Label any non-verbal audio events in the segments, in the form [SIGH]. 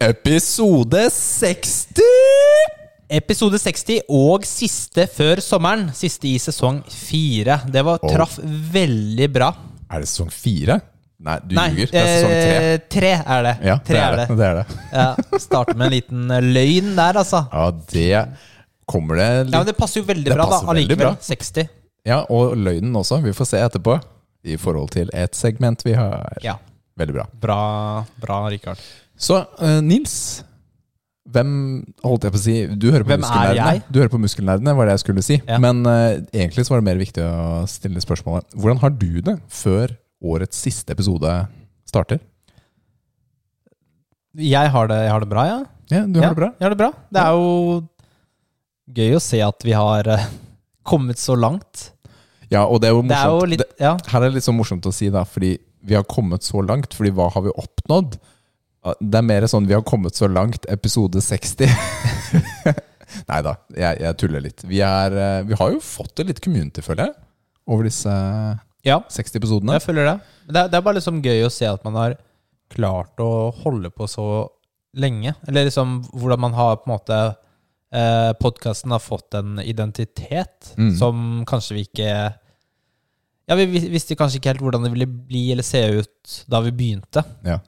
Episode 60! Episode 60 og siste før sommeren. Siste i sesong fire. Det var, traff veldig bra. Er det sesong fire? Nei, du Nei, ljuger. Det er sesong tre. eh, tre er det. Ja, tre det er det. det, er det. Ja, Starter med en liten eh, løgn der, altså. Ja, det kommer det Ja, men litt Det passer jo veldig Det bra, da. passer veldig Allikevel. bra. 60. Ja, og løgnen også. Vi får se etterpå. I forhold til et segment vi har. Ja. Veldig bra. Bra, bra Rikard. Så eh, Nils, hvem holdt jeg på å si Du hører på Hvem er jeg? Muskelnerdene. Du hører på muskelnerdene, var det jeg skulle si. Ja. Men eh, egentlig så var det mer viktig å stille spørsmålet Hvordan har du det før årets siste episode starter? Jeg har det, jeg har det bra, ja. Ja, du har det bra? Jeg har det bra. Det er jo gøy å se at vi har eh, kommet så langt. Ja, og det er jo morsomt. Det er jo litt Det- Ja. her er det litt sånn morsomt å si, da, fordi vi har kommet så langt. Fordi hva har vi oppnådd? Det er mer sånn vi har kommet så langt, episode 60. [LAUGHS] Nei da, jeg, jeg tuller litt. Vi, er, eh, vi har jo fått det litt community, føler jeg, over disse ja. 60 episodene. Jeg føler det. Men det, er- det er bare liksom gøy å se at man har klart å holde på så lenge. Eller liksom hvordan man har på en måte eh, Podkasten har fått en identitet Mm. som kanskje vi ikke Ja, vi vis- visste kanskje ikke helt hvordan det ville bli eller se ut da vi begynte. Ja.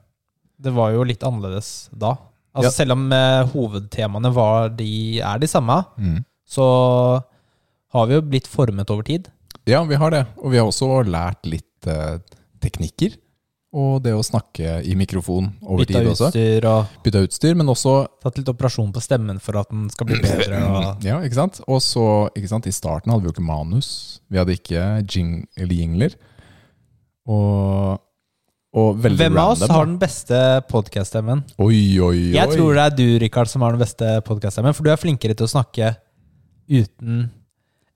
Det var jo litt annerledes da. Altså Ja. Selv om eh, hovedtemaene var de, er de samme, Mm. så har vi jo blitt formet over tid. ja, vi har det. Og vi har også lært litt eh, teknikker. Og det å snakke i mikrofon over Bytta tid også. utstyr og Bytta utstyr, men også Tatt litt operasjon på stemmen for at den skal bli bedre. Og... Ja, ikke sant? Og så, ikke sant, i starten hadde vi jo ikke manus. Vi hadde ikke jing eller jingler. Og, og [CLEARS THROAT] veldig Hvem av oss random, har da. den beste podkast-stemmen? Oi, oi, oi. Jeg tror det er du, Rikard, som har den beste podkast-stemmen. For du er flinkere til å snakke uten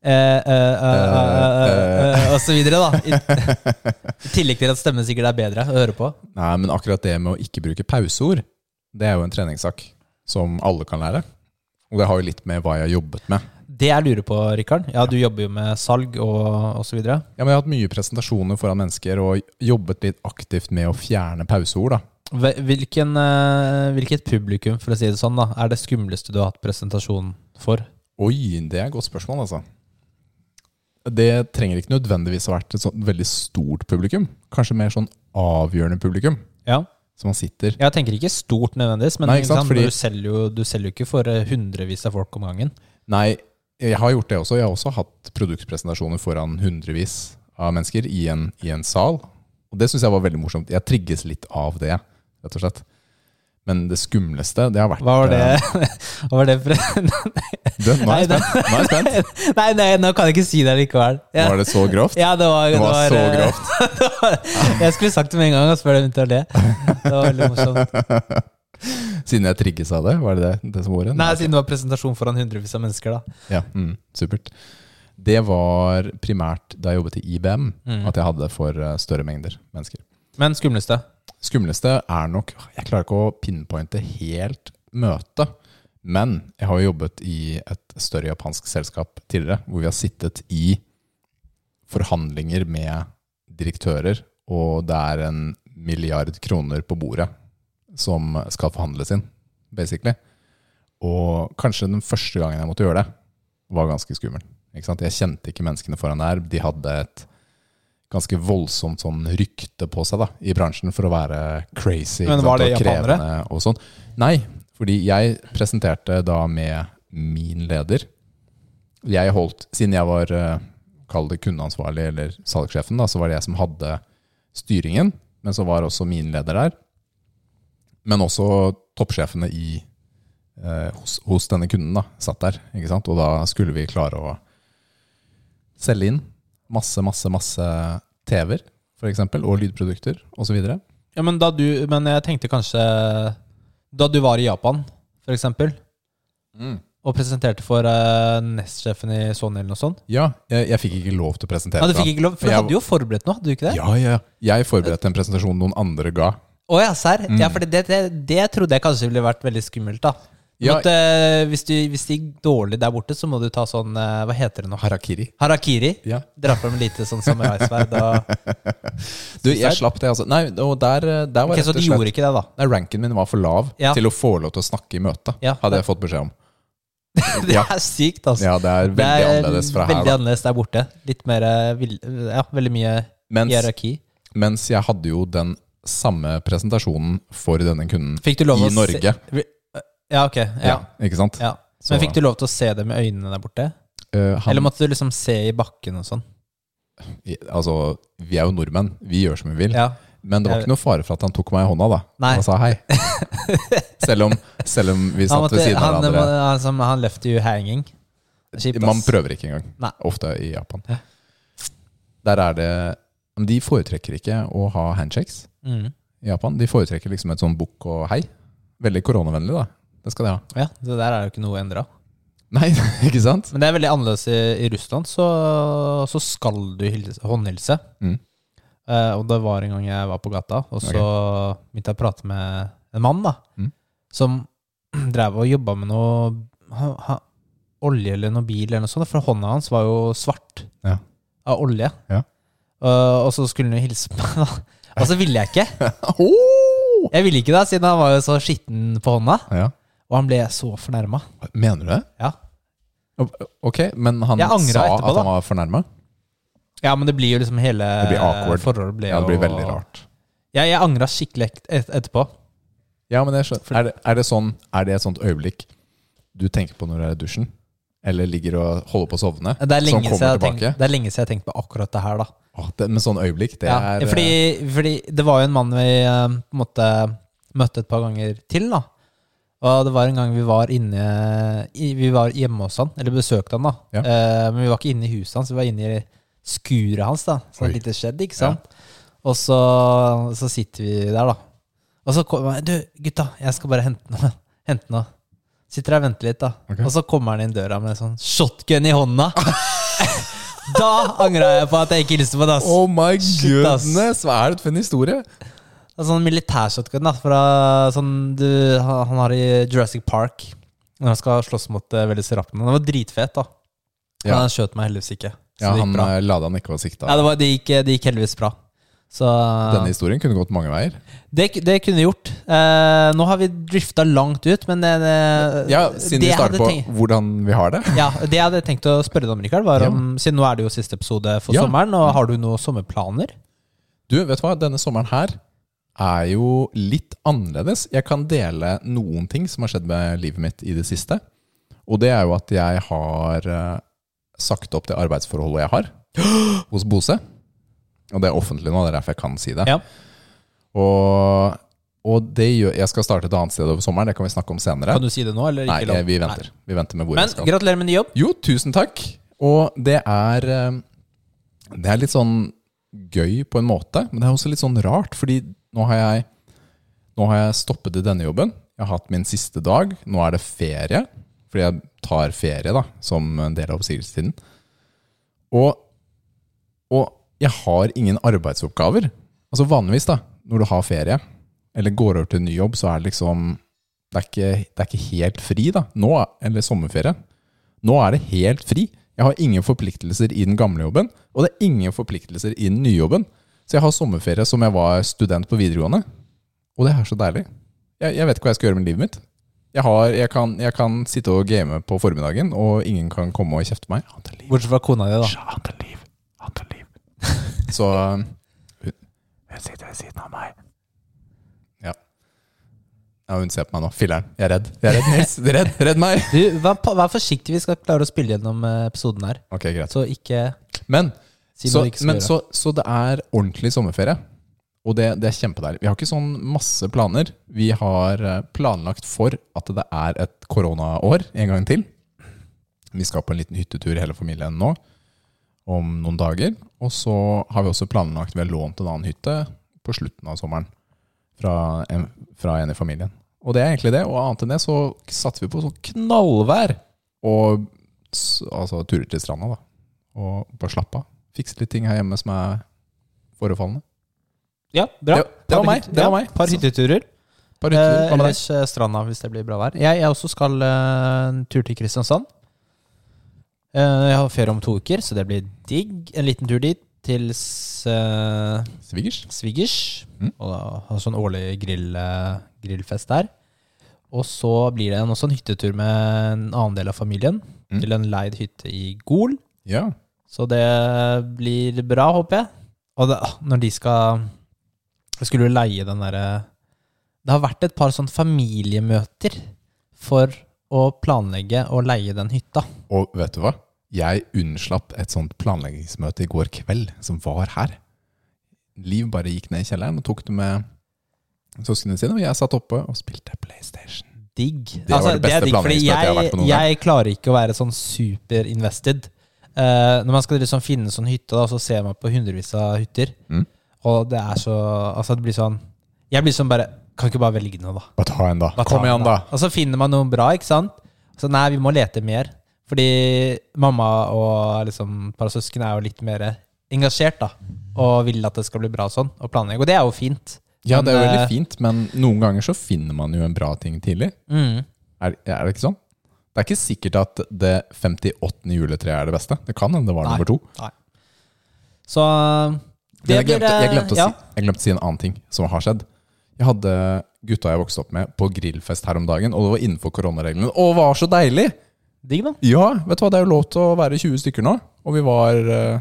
eh, eh, eh, eh, eh, eh, og så videre, da. I, I tillegg til at stemmen sikkert er bedre å høre på. Nei, men akkurat det med å ikke bruke pauseord, det er jo en treningssak som alle kan lære. Og det har jo litt med hva jeg har jobbet med. Det jeg lurer på, Rikard Ja, du jobber jo med salg og, og så videre. Ja, men jeg har hatt mye presentasjoner foran mennesker og jobbet litt aktivt med å fjerne pauseord. da. Hve- Hvilken, eh, hvilket publikum, for å si det sånn, da er det skumleste du har hatt presentasjon for? Oi, det er et godt spørsmål, altså. Det trenger ikke nødvendigvis å ha vært et sånt veldig stort publikum. Kanskje mer sånn avgjørende publikum. Ja Så man sitter Jeg tenker ikke stort nødvendigvis, men Nei, ikke ikke sant, sant? fordi- Du, selger jo, du selger jo ikke for eh, hundrevis av folk om gangen. Nei, jeg har gjort det også. Jeg har også hatt produktpresentasjoner foran hundrevis av mennesker i en, i en sal. Og det syns jeg var veldig morsomt. Jeg trigges litt av det, rett og slett. Men det skumleste, det har vært Hva var det, [LAUGHS] Hva var det for [LAUGHS] Du, nå er jeg Nei, spent. Nå er jeg spent. Nei, nei, nå kan jeg ikke si det likevel. [LAUGHS] Ja, Var det så grovt? ja, det var, Det var så eh, grovt. det var- [LAUGHS] jeg skulle sagt det med en gang, altså, før jeg begynte å le. Det var veldig [LAUGHS] morsomt. Siden jeg trigges av det, var det det, det som var ordet? Nei, siden det var presentasjon foran hundrevis av mennesker, da. Ja, mm, supert. Det var primært da jeg jobbet i IBM, Mm. at jeg hadde det for eh, større mengder mennesker. Men skumleste? Skumleste er nok Jeg klarer ikke å pinpointe helt møtet. Men jeg har jo jobbet i et større japansk selskap tidligere, hvor vi har sittet i forhandlinger med direktører, og det er en milliard kroner på bordet som skal forhandles inn, basically. Og kanskje den første gangen jeg måtte gjøre det, var ganske skummel. Ikke sant? Jeg kjente ikke menneskene foran der. De hadde et ganske voldsomt sånn rykte på seg da, i bransjen for å være crazy ikke Men sant, var det og japanere? krevende og sånn. Nei, fordi jeg presenterte da med min leder. Jeg holdt, siden jeg var eh, kall det kundeansvarlig eller salgssjefen, da, så var det jeg som hadde styringen, men så var også min leder der. Men også toppsjefene i, eh, hos, hos denne kunden da, satt der, ikke sant? Og da skulle vi klare å selge inn masse, masse, masse TV-er, for eksempel, og lydprodukter, og så videre. Ja, men, da du, men jeg tenkte kanskje Da du var i Japan, for eksempel, Mm. og presenterte for eh, nestsjefen i Sony eller noe sånt Ja, jeg, jeg fikk ikke lov til å presentere Ja, du for fikk han. ikke lov, for du Jeg- hadde jo forberedt noe, hadde du ikke det? Ja, ja, ja. Jeg forberedte en presentasjon noen andre ga. Mm. Å ja, serr? Ja, for det, det, det trodde jeg kanskje ville vært veldig skummelt, da. Du Ja. måtte, hvis, du, hvis det gikk dårlig der borte, så må du ta sånn eh, Hva heter det nå? Harakiri. Harakiri. Ja. Dra fram lite sånn samuraisverd. og- [LAUGHS] Du, jeg slapp det, altså. Nei, og der, eh, der var Ok, så rett og de slett gjorde ikke det, da. Nei, ranken min var for lav Ja. til å få lov til å snakke i møte, Ja. hadde jeg fått beskjed om. [LAUGHS] Det Ja. er sykt, altså. Ja, det er veldig det er annerledes fra veldig her. Da. annerledes der borte. Litt mer eh, vill- Ja, veldig mye Mens, hierarki. mens jeg hadde jo den samme presentasjonen for denne kunden Fikk du lov i å Norge. Se... Ja, ok. Ja. Ja, ikke sant? Ja. Så- Men fikk du lov til å se det med øynene der borte? Eh, han, Eller måtte du liksom se i bakken og sånn? i- altså, vi er jo nordmenn, vi gjør som vi vil. Ja. Men det var Jeg- ikke noe fare for at han tok meg i hånda da, Nei. og [LAUGHS] sa hei. selv, om, selv om vi satt Han, måtte, ved siden av han, hverandre. må- han, som- han left you hanging. Kjipt, Man ass. prøver ikke engang, Nei. ofte i Japan. Ja. Der er det men De foretrekker ikke å ha handshakes. Mm. i Japan. De foretrekker liksom et sånn bukk og hei. Veldig koronavennlig, da. Det skal de ha. Ja, det der er jo ikke noe å endre. Nei, [LAUGHS] ikke [LAUGHS] sant? Men det er veldig annerledes i, i Russland, så, så skal du hilse, håndhilse. Mm. Eh, og det var en gang jeg var på gata, og så begynte jeg å prate med en mann da, Mm. som [CLEARS THROAT] drev og jobba med noe ha, ha, olje eller noe bil eller noe sånt, for hånda hans var jo svart Ja. av olje. Ja. Eh, og så skulle han jo hilse på meg, da. Og så ville jeg [LAUGHS] ikke. Åh! Jeg ville ikke da, siden han var jo så skitten på hånda. Ja. Og han ble så fornærma. Mener du det? Ja. Ok, men han Jeg sa angret etterpå, at da. han var fornærma? Ja, men det blir jo liksom hele Det blir awkward. forholdet blir Ja, det blir jo- veldig rart. Ja, jeg angra skikkelig et- et etterpå. Ja, men jeg skjønner. Er det, er, det sånn, er det et sånt øyeblikk du tenker på når du er i dusjen? Eller ligger og holder på å sovne? Det er som lenge, siden kommer jeg, har tenkt, tilbake? det er lenge siden jeg har tenkt på akkurat det her, da. Åh, det, men sånn øyeblikk, det ja. er eh, fordi, fordi det var jo en mann vi eh, på en måte møtte et par ganger til, da. Og det var en gang vi var inne i, Vi var hjemme hos han, eller besøkte han, da. Ja. Eh, men vi var ikke inne i huset hans, vi var inne i skuret hans, da. Så Oi. et lite skjedd, ikke sant. Og så, så sitter vi der, da. Og så kommer han Du, gutta, jeg skal bare hente noe. [LAUGHS] Hente noe. Sitter der og venter litt, da. Ok. Og så kommer han inn døra med sånn shotgun i [LAUGHS] hånda. da angra jeg på at jeg ikke hilste på det, ass. Oh my Shit, ass. goodness! Hva er det for en historie? Det er sånn militærshotgun da, fra sånn du, han han har i Jurassic Park. Når han skal slåss mot uh, velociraptoren. Den var dritfet, da. Men Ja. han skjøt meg heldigvis ikke. Så Ja, det han gikk bra. eh, lada han ikke å sikte Ja, av. det, var, det, gikk, det gikk heldigvis bra. Så Denne historien kunne gått mange veier. det, ku- det kunne vi gjort. Eh, nå har vi drifta langt ut, men eh, det, det, Ja, siden vi jeg starter hadde på tenkt- hvordan vi har det. ja, det jeg hadde tenkt å spørre deg om, Rikard, var Ja. om Siden nå er det jo siste episode for Ja. sommeren, og har du noen sommerplaner? Du, vet du hva? Denne sommeren her er jo litt annerledes. Jeg kan dele noen ting som har skjedd med livet mitt i det siste. Og det er jo at jeg har eh, sagt opp det arbeidsforholdet jeg har [GASPS] hos Bose. Og det er offentlig nå, det er derfor jeg kan si det. Ja. Og, og det gjør, jeg skal starte et annet sted over sommeren, det kan vi snakke om senere. Kan du si det nå, eller Nei, jeg, ikke? lov? vi venter. Vi venter med hvor jeg Men skal. gratulerer med ny jobb. Jo, tusen takk. Og det er eh, Det er litt sånn gøy på en måte, men det er også litt sånn rart, fordi nå har jeg Nå har jeg stoppet i denne jobben. Jeg har hatt min siste dag. Nå er det ferie, fordi jeg tar ferie da, som en del av oppsigelsestiden. Og, og jeg har ingen arbeidsoppgaver. Altså vanligvis, da, når du har ferie eller går over til en ny jobb, så er det liksom Det er ikke, det er ikke helt fri, da. Nå, eller sommerferie. Nå er det helt fri. Jeg har ingen forpliktelser i den gamle jobben, og det er ingen forpliktelser i den nye jobben. Så jeg har sommerferie som jeg var student på videregående. Og det er så deilig. Jeg, jeg vet ikke hva jeg skal gjøre med livet mitt. Jeg, har, jeg, kan, jeg kan sitte og game på formiddagen, og ingen kan komme og kjefte på meg. Annet liv. Bortsett fra kona di, da. Annet liv. Annet liv. Så hun, hun sitter ved siden av meg. Ja. ja. Hun ser på meg nå. Filler'n. Jeg er redd. Jeg er redd, Nils. Redd, redd meg. Du, vær, pa- vær forsiktig, vi skal klare å spille gjennom eh, episoden her. Ok, greit. Så ikke Men si så, noe du ikke skal men gjøre. så, så det er ordentlig sommerferie. Og det, det er kjempedeilig. Vi har ikke sånn masse planer. Vi har eh, planlagt for at det er et koronaår en gang til. Vi skal på en liten hyttetur hele familien nå om noen dager. Og så har vi også planlagt Vi har lånt en annen hytte på slutten av sommeren fra en, fra en i familien. Og det er egentlig det. Og annet enn det så satser vi på sånn knallvær og s- altså, turer til stranda, da. Og bare slappe av. Fikse litt ting her hjemme som er forefallende. Ja, bra. Det- det var meg, det var meg. Par hytteturer. Par Eh, hytter. Hva med deg? ellers eh, stranda, hvis det blir bra vær. Jeg, jeg også skal eh, en tur til Kristiansand. Eh, jeg har ferie om to uker, så det blir digg. En liten tur dit til s- eh, Svigers? svigers. Mm. Og da ha sånn årlig grill, eh, grillfest der. Og så blir det en, også en hyttetur med en annen del av familien. Mm. Til en leid hytte i Gol. Ja. Så det blir bra, håper jeg. Og det, ah, når de skal Jeg skulle jo leie den derre Det har vært et par sånn familiemøter for å planlegge å leie den hytta. Og vet du hva? Jeg unnslapp et sånt planleggingsmøte i går kveld, som var her. Liv bare gikk ned i kjelleren og tok det med søsknene sine, og jeg satt oppe og spilte PlayStation. Digg. Altså, Det var det beste er digg, fordi planleggingsmøtet jeg har vært på noen Jeg klarer ikke å være sånn superinvested. Eh, når man skal liksom finne sånn hytte, da, så ser man på hundrevis av hytter. Mm. Og det er så Altså, det blir sånn Jeg blir sånn bare Kan ikke bare velge noe, da. Bare ta en, da. Hva Kom tar igjen, man da. Og så finner man noe bra, ikke sant? Så nei, vi må lete mer. Fordi mamma og liksom et par søsken er jo litt mer engasjert, da. Og vil at det skal bli bra sånn, og planlegge. Og det er jo fint. Ja, det er jo Men, veldig eh, fint, men noen ganger så finner man jo en bra ting tidlig. Mm. Er, er det ikke sånn? Det er ikke sikkert at det 58. juletreet er det beste. Det kan hende det var Nei. nummer to. Nei. Så Men jeg glemte, jeg, glemte å eh, ja. si, jeg glemte å si en annen ting som har skjedd. Jeg hadde gutta jeg vokste opp med på grillfest her om dagen, og det var innenfor koronareglene. Og det var så deilig! Digg, da. Ja, vet du hva, det er jo lov til å være 20 stykker nå. Og vi var eh,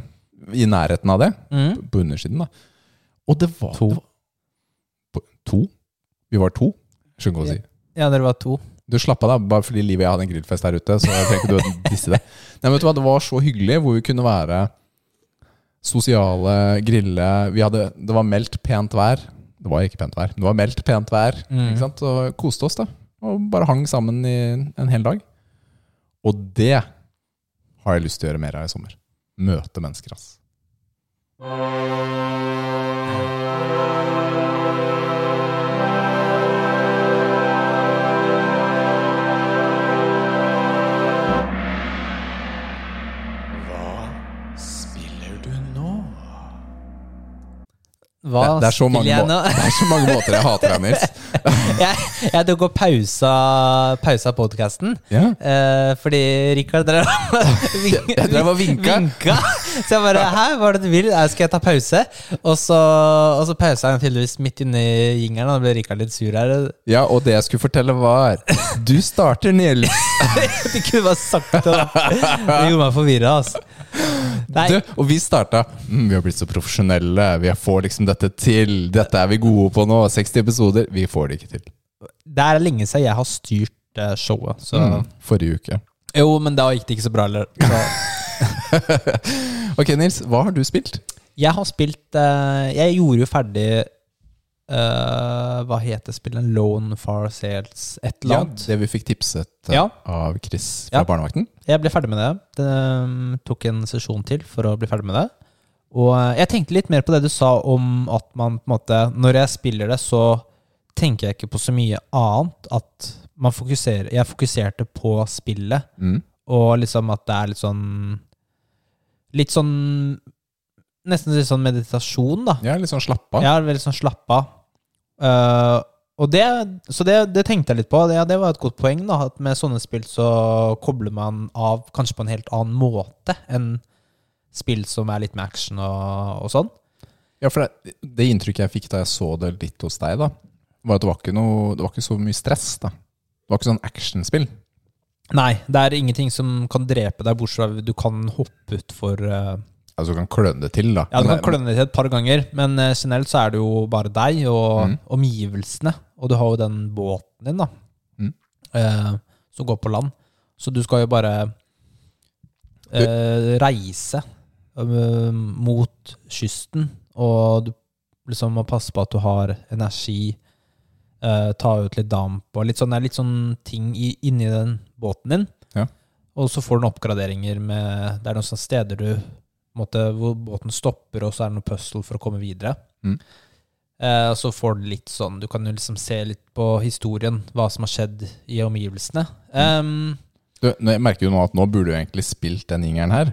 i nærheten av det, Mm. på undersiden da. Og det var To. det var- På, to? Vi var to? Skjønner ikke hva å si. Ja, dere var to. Du slapp av da, bare fordi Liv og jeg hadde en grillfest der ute, så jeg trenger ikke du å disse det. Nei, men vet du hva, det var så hyggelig hvor vi kunne være sosiale, grille. Vi hadde, det var meldt pent vær. Det var ikke pent vær, men det var meldt pent vær. Mm. Ikke sant? Og koste oss da. Og bare hang sammen i en hel dag. Og det har jeg lyst til å gjøre mer av i sommer. Møte mennesker, ass. Hva spiller du nå? Hva Det, det, er så mange spiller jeg må- nå? det er så mange måter jeg hater deg, Nils. jeg, jeg tok og pausa, pausa podkasten. Ja. Eh, fordi Rikard drev [LAUGHS] vink- Jeg drev og vinka. vinka. Så jeg bare Hæ, hva er det du vil? Eh, Skal jeg ta pause? Og så, og så pausa han tydeligvis midt inni jingeren, og da ble Rikard litt sur her. [LAUGHS] Ja, og det jeg skulle fortelle var Du starter, Nils. Du kunne bare sagt det. da. Det gjorde meg forvirra, altså. Nei, Du, og vi starta mm, Vi har blitt så profesjonelle. Vi får liksom dette til. Dette er vi gode på nå. 60 episoder. Vi får det ikke til. det er lenge siden jeg har styrt eh, showet, så Mm, forrige uke. Jo, men da gikk det ikke så bra heller. Så Ok, Nils. Hva har du spilt? Jeg har spilt eh, Jeg gjorde jo ferdig eh, Hva heter spillet? Lone Far Sales et eller annet. det vi fikk tipset eh, Ja. av Chris fra Ja. Barnevakten. Jeg ble ferdig med det. det um, tok en sesjon til for å bli ferdig med det. Og eh, jeg tenkte litt mer på det du sa om at man på en måte Når jeg spiller det, så tenker jeg ikke på så mye annet. At man fokuserer Jeg fokuserte på spillet, Mm. og liksom at det er litt sånn Litt sånn Nesten litt sånn meditasjon, da. Ja, litt sånn slappa. Jeg er veldig sånn slappa. Eh, og det, så det, det tenkte jeg litt på. Det, det var et godt poeng. da, At med sånne spill så kobler man av kanskje på en helt annen måte enn spill som er litt med action og, og sånn. Ja, for det, det inntrykket jeg fikk da jeg så det litt hos deg, da, var at det var ikke, noe, det var ikke så mye stress. da. Det var ikke sånn actionspill. Nei, det er ingenting som kan drepe deg, bortsett fra at du kan hoppe utfor uh, Altså, du kan kløne det til, da. Ja, du Men kan det- kløne deg til et par ganger, men eh, generelt så er det jo bare deg og Mm. omgivelsene. Og du har jo den båten din, da, Mm. eh, som går på land. Så du skal jo bare eh, reise eh, mot kysten, og du liksom må passe på at du har energi, eh, ta ut litt damp og litt sånn, det er litt sånn ting i, inni den båten din. Ja. Og så får du noen oppgraderinger med Det er noen sånne steder du på en måte, hvor båten stopper, og så er det noe puzzle for å komme videre. Mm. Eh, så får du litt sånn Du kan jo liksom se litt på historien, hva som har skjedd i omgivelsene. Ehm, Du, nå- jeg merker jo nå at nå burde du egentlig spilt den jingeren her.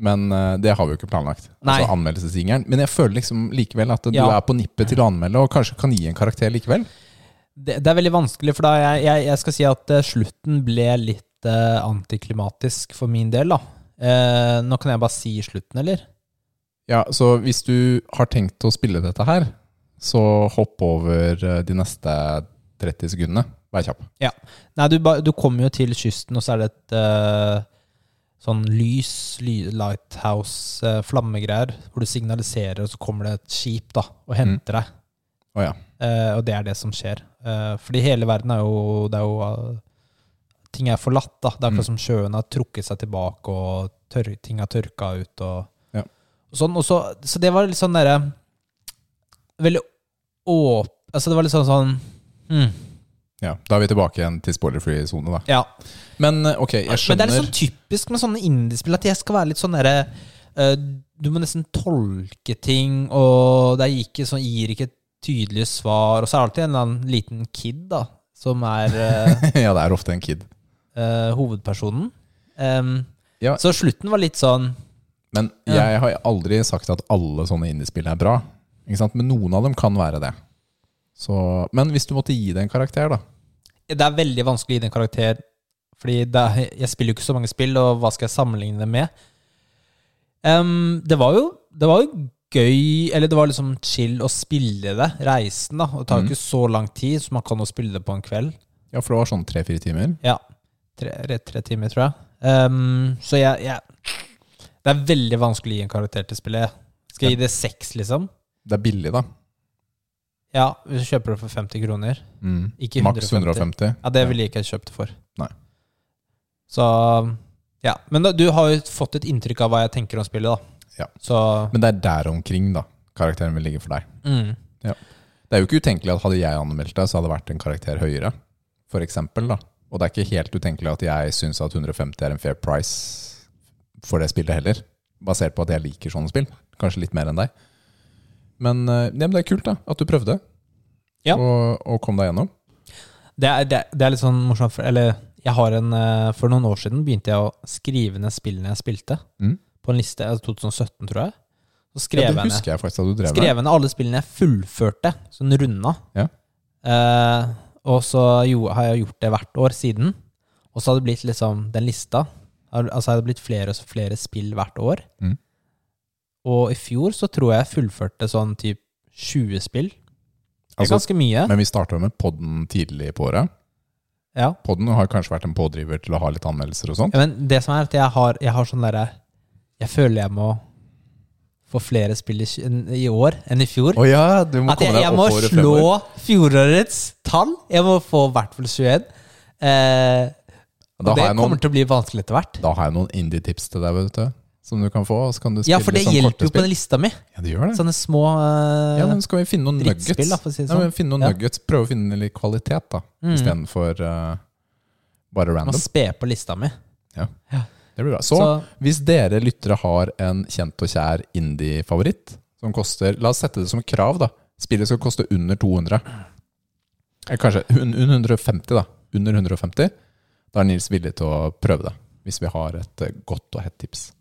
Men eh, det har vi jo ikke planlagt. Nei. Altså anmeldelsesjingeren. Men jeg føler liksom likevel at du Ja. er på nippet til å anmelde, og kanskje kan gi en karakter likevel. det, det er veldig vanskelig, for da jeg, jeg, jeg skal si at eh, slutten ble litt eh, antiklimatisk for min del, da. Eh, nå kan jeg bare si slutten, eller? Ja, så hvis du har tenkt å spille dette her, så hopp over eh, de neste 30 sekundene. Vær kjapp. Nei, du, ba- du kommer jo til kysten, og så er det et eh, sånn lys, ly, lighthouse, eh, flammegreier, hvor du signaliserer, og så kommer det et skip da, og henter deg. Mm. Å ja. Eh, og det er det som skjer. Eh, fordi hele verden er jo, det er jo eh, Ting er forlatt, da. Det er Mm. akkurat som sjøen har trukket seg tilbake, og tør, ting har tørka ut. og, Ja. og sånn. Og så, så det var litt sånn derre Veldig åp... Altså, det var litt sånn sånn hmm, ja. Da er vi tilbake igjen til spoiler-free-sone, da. Ja. Men eh, ok, jeg Men det er skjønner. litt sånn typisk med sånne indiespill at jeg skal være litt sånn derre eh, Du må nesten tolke ting, og det er ikke sånn, gir ikke tydelige svar. Og så er det alltid en eller annen liten kid da som er [LAUGHS] eh, [LAUGHS] ja, det er ofte en kid. eh, hovedpersonen. Em, Ja. Så slutten var litt sånn Men jeg har aldri sagt at alle sånne indiespill er bra. Ikke sant? Men noen av dem kan være det. Så, men hvis du måtte gi det en karakter, da. Det er veldig vanskelig å gi det en karakter, fordi det er, jeg spiller jo ikke så mange spill, og hva skal jeg sammenligne det med? Em, det var jo Det var jo gøy, eller det var liksom chill å spille det, reisen, da. Og det tar jo ikke så lang tid, så man kan jo spille det på en kveld. Ja, For det var sånn tre-fire timer. Ja. Tre, tre, tre timer, tror jeg. Em, så jeg, jeg Det er veldig vanskelig å gi en karakter til spillet. Skal jeg gi det seks, liksom? Det er billig, da. Ja, hvis du kjøper det for 50 kroner. Mm. Ikke Maks 150. Ja, det ville jeg ikke kjøpt det for. Nei. Så Ja. Men da, du har jo fått et inntrykk av hva jeg tenker om spillet, da. Ja. Så Men det er der omkring, da. Karakteren vil ligge for deg. mm. Det er jo ikke utenkelig at hadde jeg anmeldt det, så hadde det vært en karakter høyere. For eksempel, da. Og det er ikke helt utenkelig at jeg syns at 150 er en fair price for det spillet heller. Basert på at jeg liker sånne spill. Kanskje litt mer enn deg. Men, eh, ja, men det er kult da, at du prøvde Ja. og, og kom deg gjennom. det, er, det, er- det er litt sånn morsomt, for, eller jeg har en eh, For noen år siden begynte jeg å skrive ned spillene jeg spilte, Mm. på en liste. Altså 2017, tror jeg. Så skrev Ja, jeg det ned. husker jeg faktisk at du drev med. skrev ned alle spillene jeg fullførte, sånn runda. Ja. Eh, og så jo, har jeg gjort det hvert år siden. Og så har det blitt liksom den lista. har- Altså har det blitt flere og flere spill hvert år. Mm. Og i fjor så tror jeg jeg fullførte sånn typ 20 spill. Det er Altså, ganske mye. Men vi starta med podden tidlig på året. ja. Podden har kanskje vært en pådriver til å ha litt anmeldelser og sånn. ja, men det som er at jeg har, jeg har sånn derre Jeg føler jeg må få flere spill i, i år enn i fjor. Å ja, du må At jeg, komme deg jeg må oppover og slå fremover. fjorårets tall. Jeg må få i hvert fall 21. Eh, og Da det har jeg noen kommer til å bli vanskelig etter hvert. Da har jeg noen indie-tips til deg, vet du. Som du kan få. og Så kan du spille Ja, for det sånn hjelper jo på kortespill. den lista mi. Ja, det gjør det. Sånne små eh, ja, men skal vi finne noen nuggets? drittspill, da, for å si det Nei, sånn. men finne noen Ja. Mm. nuggets. Prøve å finne litt kvalitet, da. Istedenfor eh, bare Må random. spe på lista mi. Det blir bra. Så, Så- hvis dere lyttere har en kjent og kjær indie-favoritt som koster La oss sette det som et krav, da. Spillet skal koste under 200. Eh, Kanskje un- under 150, da. Under 150. Da er Nils villig til å prøve det. Hvis vi har et eh, godt og hett tips.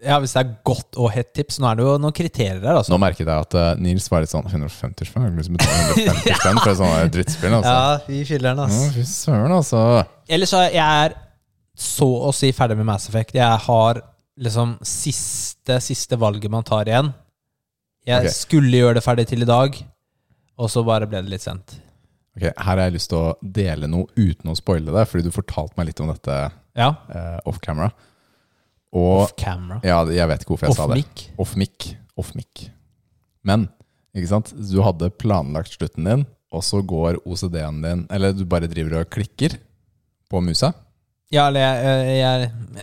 Ja, Hvis det er godt og hett tips. Nå er det jo noen kriterier her. Altså. Nå merket jeg at eh, Nils var litt sånn 150 spenn? Jeg har ikke lyst til å betale 150 spenn for et sånt drittspill. Altså. Ja, fy filler'n, Å, ass. Fy søren, altså. Ellers så er jeg er så å si ferdig med Mass Effect. Jeg har liksom siste, siste valget man tar igjen. Jeg Ok. skulle gjøre det ferdig til i dag, og så bare ble det litt sent. Ok, Her har jeg lyst til å dele noe uten å spoile det, fordi du fortalte meg litt om dette Ja. eh, off camera. Og Off camera. ja, jeg vet ikke hvorfor jeg Off sa det. mic. Off mic. Off mic. Men ikke sant? du hadde planlagt slutten din, og så går OCD-en din Eller du bare driver og klikker på musa. Ja, eller jeg Jeg,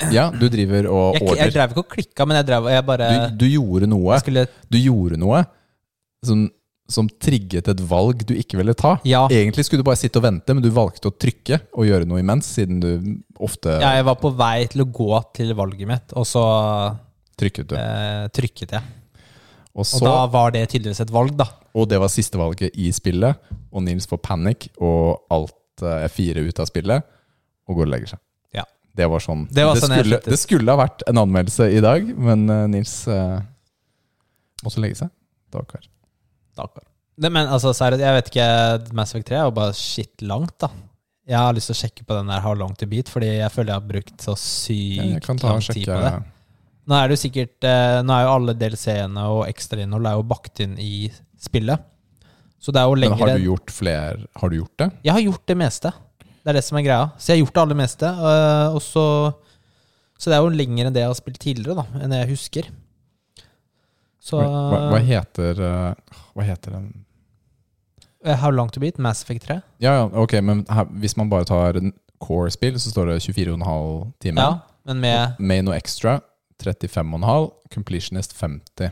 jeg, Ja, du driver og jeg, jeg, ordner. drev ikke og klikka, men jeg drev Jeg bare Du, du gjorde noe. jeg skulle du gjorde noe som, som trigget et valg du ikke ville ta. ja, Egentlig skulle du bare sitte og vente, men du valgte å trykke og gjøre noe imens, siden du ofte ja, jeg var på vei til å gå til valget mitt, og så trykket. Du. eh, trykket jeg. Og, Og så, da var det tydeligvis et valg, da. og det var siste valget i spillet, og Nils får panikk, og alt eh, er fire ut av spillet, og går og legger seg. Ja. Det var sånn. Det var sånn jeg skulle, sluttet. det skulle ha vært en anmeldelse i dag, men eh, Nils eh, måtte legge seg. Dagkar. Dakar. Det, men altså, seriøst, jeg vet ikke Mass Effect 3 er jo bare shit langt, da. Jeg har lyst til å sjekke på den der How Long To Beat, fordi jeg føler jeg har brukt så Jeg sykt kan ta lang og tid sjekke på det. Nå er det jo sikkert eh, Nå er jo alle DLC-ene og ekstrainnhold er jo bakt inn i spillet. Så det er jo Men lengre har du gjort flere Har du gjort det? Jeg har gjort det meste. Det er det som er greia. Så jeg har gjort det aller meste. øh, og så Så det er jo lenger enn det jeg har spilt tidligere, da. Enn det jeg husker. Så Men Hva, hva heter eh, Hva heter den eh, How long to beat? Mass Effect 3? Ja, ja, ok, men her, hvis man bare tar en core-spill, så står det 24,5 timer. Ja, men med Med noe extra 35,5. Completionist 50.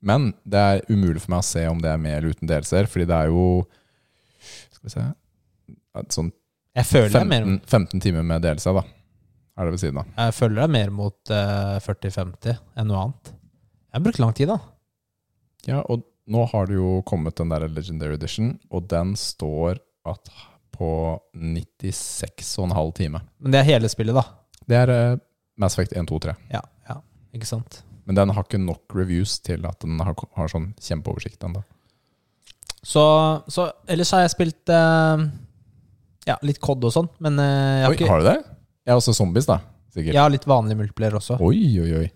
Men det er umulig for meg å se om det er med eller uten delser, fordi det er jo Skal vi se et Sånn Jeg føler det er mer, 15, 15 timer med delelse, da. Er det ved siden av. jeg føler det er mer mot eh, 40-50 enn noe annet. Jeg har brukt lang tid, da. Ja, og nå har det jo kommet den der Legendary Edition, og den står at på 96,5 time. Men det er hele spillet, da. Det er eh, Mass Effect 1, 2, 3. Ja, ja. Ikke sant? Men den har ikke nok reviews til at den har, har sånn kjempeoversikt ennå. Så, så ellers har jeg spilt eh, ja, litt COD og sånn, men eh, jeg, har Oi, ikke, har du det? Jeg er også zombies, da. Sikkert. jeg har litt vanlig multiplayer også. Oi, oi, oi.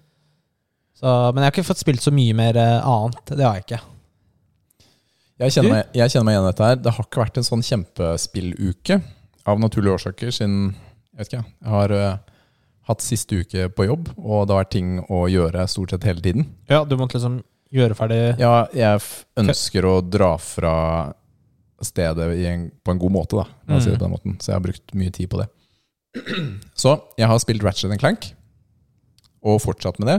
Så, men jeg har ikke fått spilt så mye mer eh, annet. Det har jeg ikke. Jeg Du? kjenner, meg, jeg kjenner meg igjen i dette her. Det har ikke vært en sånn kjempespilluke av naturlige årsaker, siden jeg vet ikke, jeg har eh, hatt siste uke på jobb, og det har vært ting å gjøre stort sett hele tiden. Ja, du måtte liksom gjøre ferdig Ja, jeg f- ønsker å dra fra stedet i en, på en god måte, da. La oss si det på den måten. Så jeg har brukt mye tid på det. Så jeg har spilt Ratchet Clank, og fortsatt med det.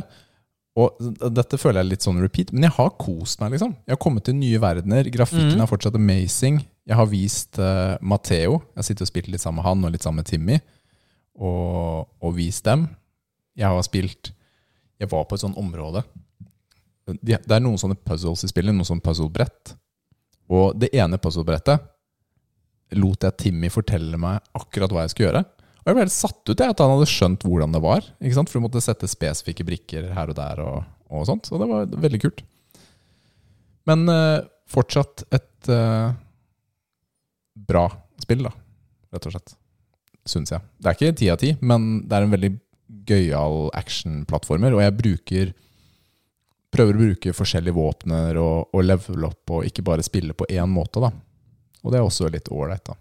Og d- dette føler jeg er litt sånn repeat, men jeg har kost meg, liksom. Jeg har kommet til nye verdener. Grafikken Mhm. er fortsatt amazing. Jeg har vist eh, Matteo. Jeg sitter og spilt litt sammen med han, og litt sammen med Timmy. Og, og vist dem. Jeg har spilt Jeg var på et sånt område de, det er noen sånne puzzles i spillet, noen sånne puzzlebrett. Og det ene puzzlebrettet lot jeg Timmy fortelle meg akkurat hva jeg skulle gjøre. Og jeg ble helt satt ut jeg, at han hadde skjønt hvordan det var. Ikke sant? For du måtte sette spesifikke brikker her og der og, og sånt. Så det var veldig kult. Men eh, fortsatt et eh, bra spill, da. Rett og slett. Syns jeg. Det er ikke ti av ti, men det er en veldig gøyal actionplattformer. Og jeg bruker prøver å bruke forskjellige våpner og, og level opp, og ikke bare spille på én måte, da. Og det er også litt ålreit, da.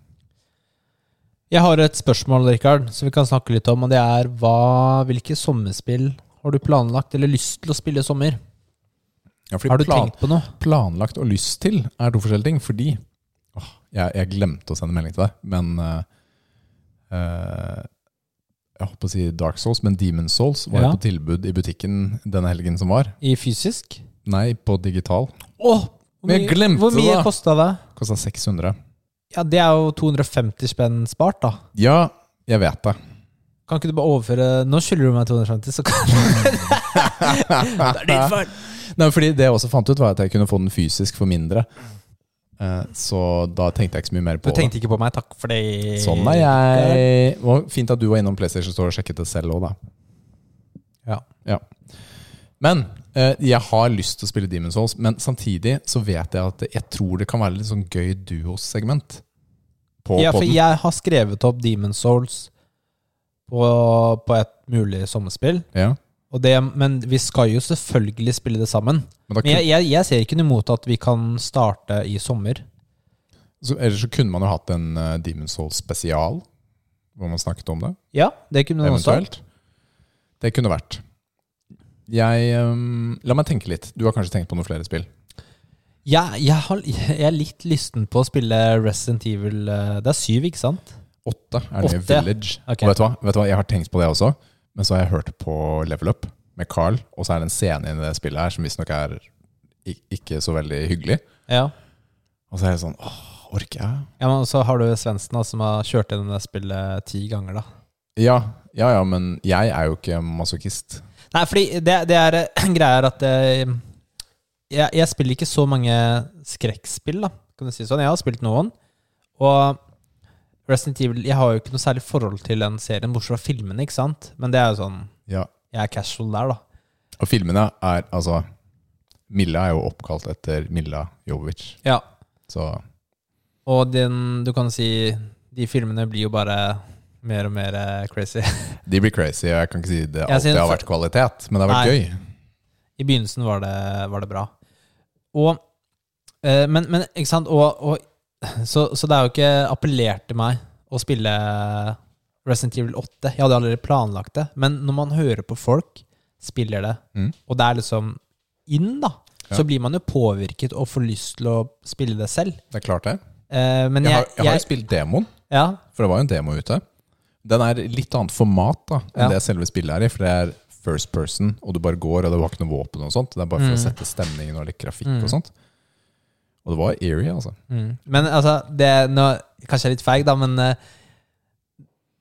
Jeg har et spørsmål, Rikard, som vi kan snakke litt om. Og det er hva, hvilke sommerspill har du planlagt eller lyst til å spille i sommer? Ja, fordi Har du plan- tenkt på noe? planlagt og lyst til er to forskjellige ting, fordi åh, jeg, jeg glemte å sende melding til deg, men eh, eh, Jeg holdt på å si Dark Souls, men Demon Souls var Ja. på tilbud i butikken denne helgen som var. I fysisk? Nei, på digital. Åh, hvor Men jeg mye- glemte Hvor mye det. kosta det? Kosta 600. Ja, det er jo 250 spenn spart, da. Ja, jeg vet [LAUGHS] det. Kan ikke du bare overføre Nå skylder du meg 250, så kan Det er din feil. Nei, fordi Det jeg også fant ut, var at jeg kunne få den fysisk for mindre. Eh, Så da tenkte jeg ikke så mye mer Du på det. tenkte ikke på meg, takk for det. Sånn er jeg. Det var fint at du var innom PlayStation Store og sjekket det selv òg, da. Ja. Men eh, jeg har lyst til å spille Demon's Souls, men samtidig så vet jeg at det- jeg tror det kan være litt sånn gøy duo-segment på Ja, for podden. jeg har skrevet opp Demon's Souls på, på et mulig sommerspill. Ja. Og det, men vi skal jo selvfølgelig spille det sammen. Men da Men kunne, jeg, jeg, jeg ser ikke noe imot at vi kan starte i sommer. så, ellers så kunne man jo hatt en uh, Demon's Souls-spesial, hvor man snakket om det. Ja, det kunne man også. Eventuelt. Det kunne vært. Jeg ehm, La meg tenke litt. Du har kanskje tenkt på noen flere spill? Jeg, jeg, har, jeg er litt lysten på å spille Resident Evil eh, Det er syv, ikke sant? Åtte er det Åtte, med Village. ja. Ok. Og vet du, hva? vet du hva? Jeg har tenkt på det også, men så har jeg hørt på Level Up med Carl, og så er det en scene inni det spillet her som visstnok er ik- ikke så veldig hyggelig. Ja. Og så er jeg sånn Åh, orker jeg? ja men så har du Svendsen, da, som har kjørt gjennom det spillet ti ganger, da. Ja, ja, ja, men jeg er jo ikke masochist. Nei, fordi det, det er [CLEARS THROAT] greia er at eh, jeg, jeg spiller ikke så mange skrekkspill, da, kan du si sånn. Jeg har spilt noen. Og Resident Evil Jeg har jo ikke noe særlig forhold til den serien, bortsett fra filmene, ikke sant? Men det er jo sånn Ja. Jeg er casual der, da. Og filmene er altså Milla er jo oppkalt etter Milla Jovovic. Ja. Så Og den, du kan si de filmene blir jo bare mer og mer eh, crazy. de blir crazy, og jeg kan ikke si det alltid synes- har vært kvalitet, men det har vært Nei. gøy. I begynnelsen var det, var det bra. Og, eh, men, men ikke sant og, og, så, så det er jo ikke appellert til meg å spille Resident Evil 8. Jeg hadde allerede planlagt det. Men når man hører på folk spiller det, Mm. og det er liksom inn, da, Ja. så blir man jo påvirket og får lyst til å spille det selv. Det er klart, det. Eh, men Jeg jeg, har, jeg har jo spilt demoen, ja, for det var jo en demo ute. Den er litt annet format da, enn Ja. det selve spillet er i, for det er first person, og du bare går, og det var ikke noe våpen og sånt. Det er bare for å Mm. sette stemningen og litt grafikk Mm. og sånt. Og det var eerie, altså. mm. Men altså, det nå, Kanskje jeg er litt feig, da, men eh,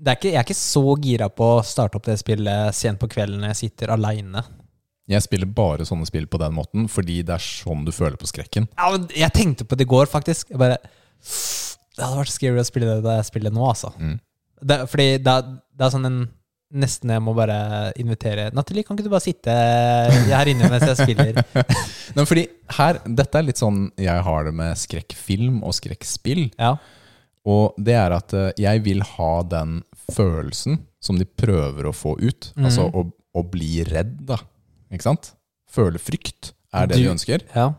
det er ikke, jeg er ikke så gira på å starte opp det spillet sent på kvelden når jeg sitter aleine. Jeg spiller bare sånne spill på den måten, fordi det er sånn du føler på skrekken. Ja, men jeg tenkte på det i går, faktisk. Jeg bare Det hadde vært scary å spille det da jeg spiller nå, altså. Mm. Det, fordi det, er- det er sånn en Nesten jeg må bare invitere Nathalie, kan ikke du bare sitte her inne mens jeg spiller? Men fordi her, dette er litt sånn jeg har det med skrekkfilm og skrekkspill. Ja. Og det er at eh, jeg vil ha den følelsen som de prøver å få ut. Altså å, å bli redd, da. Ikke sant? Føle frykt er det Du- de ønsker. ja.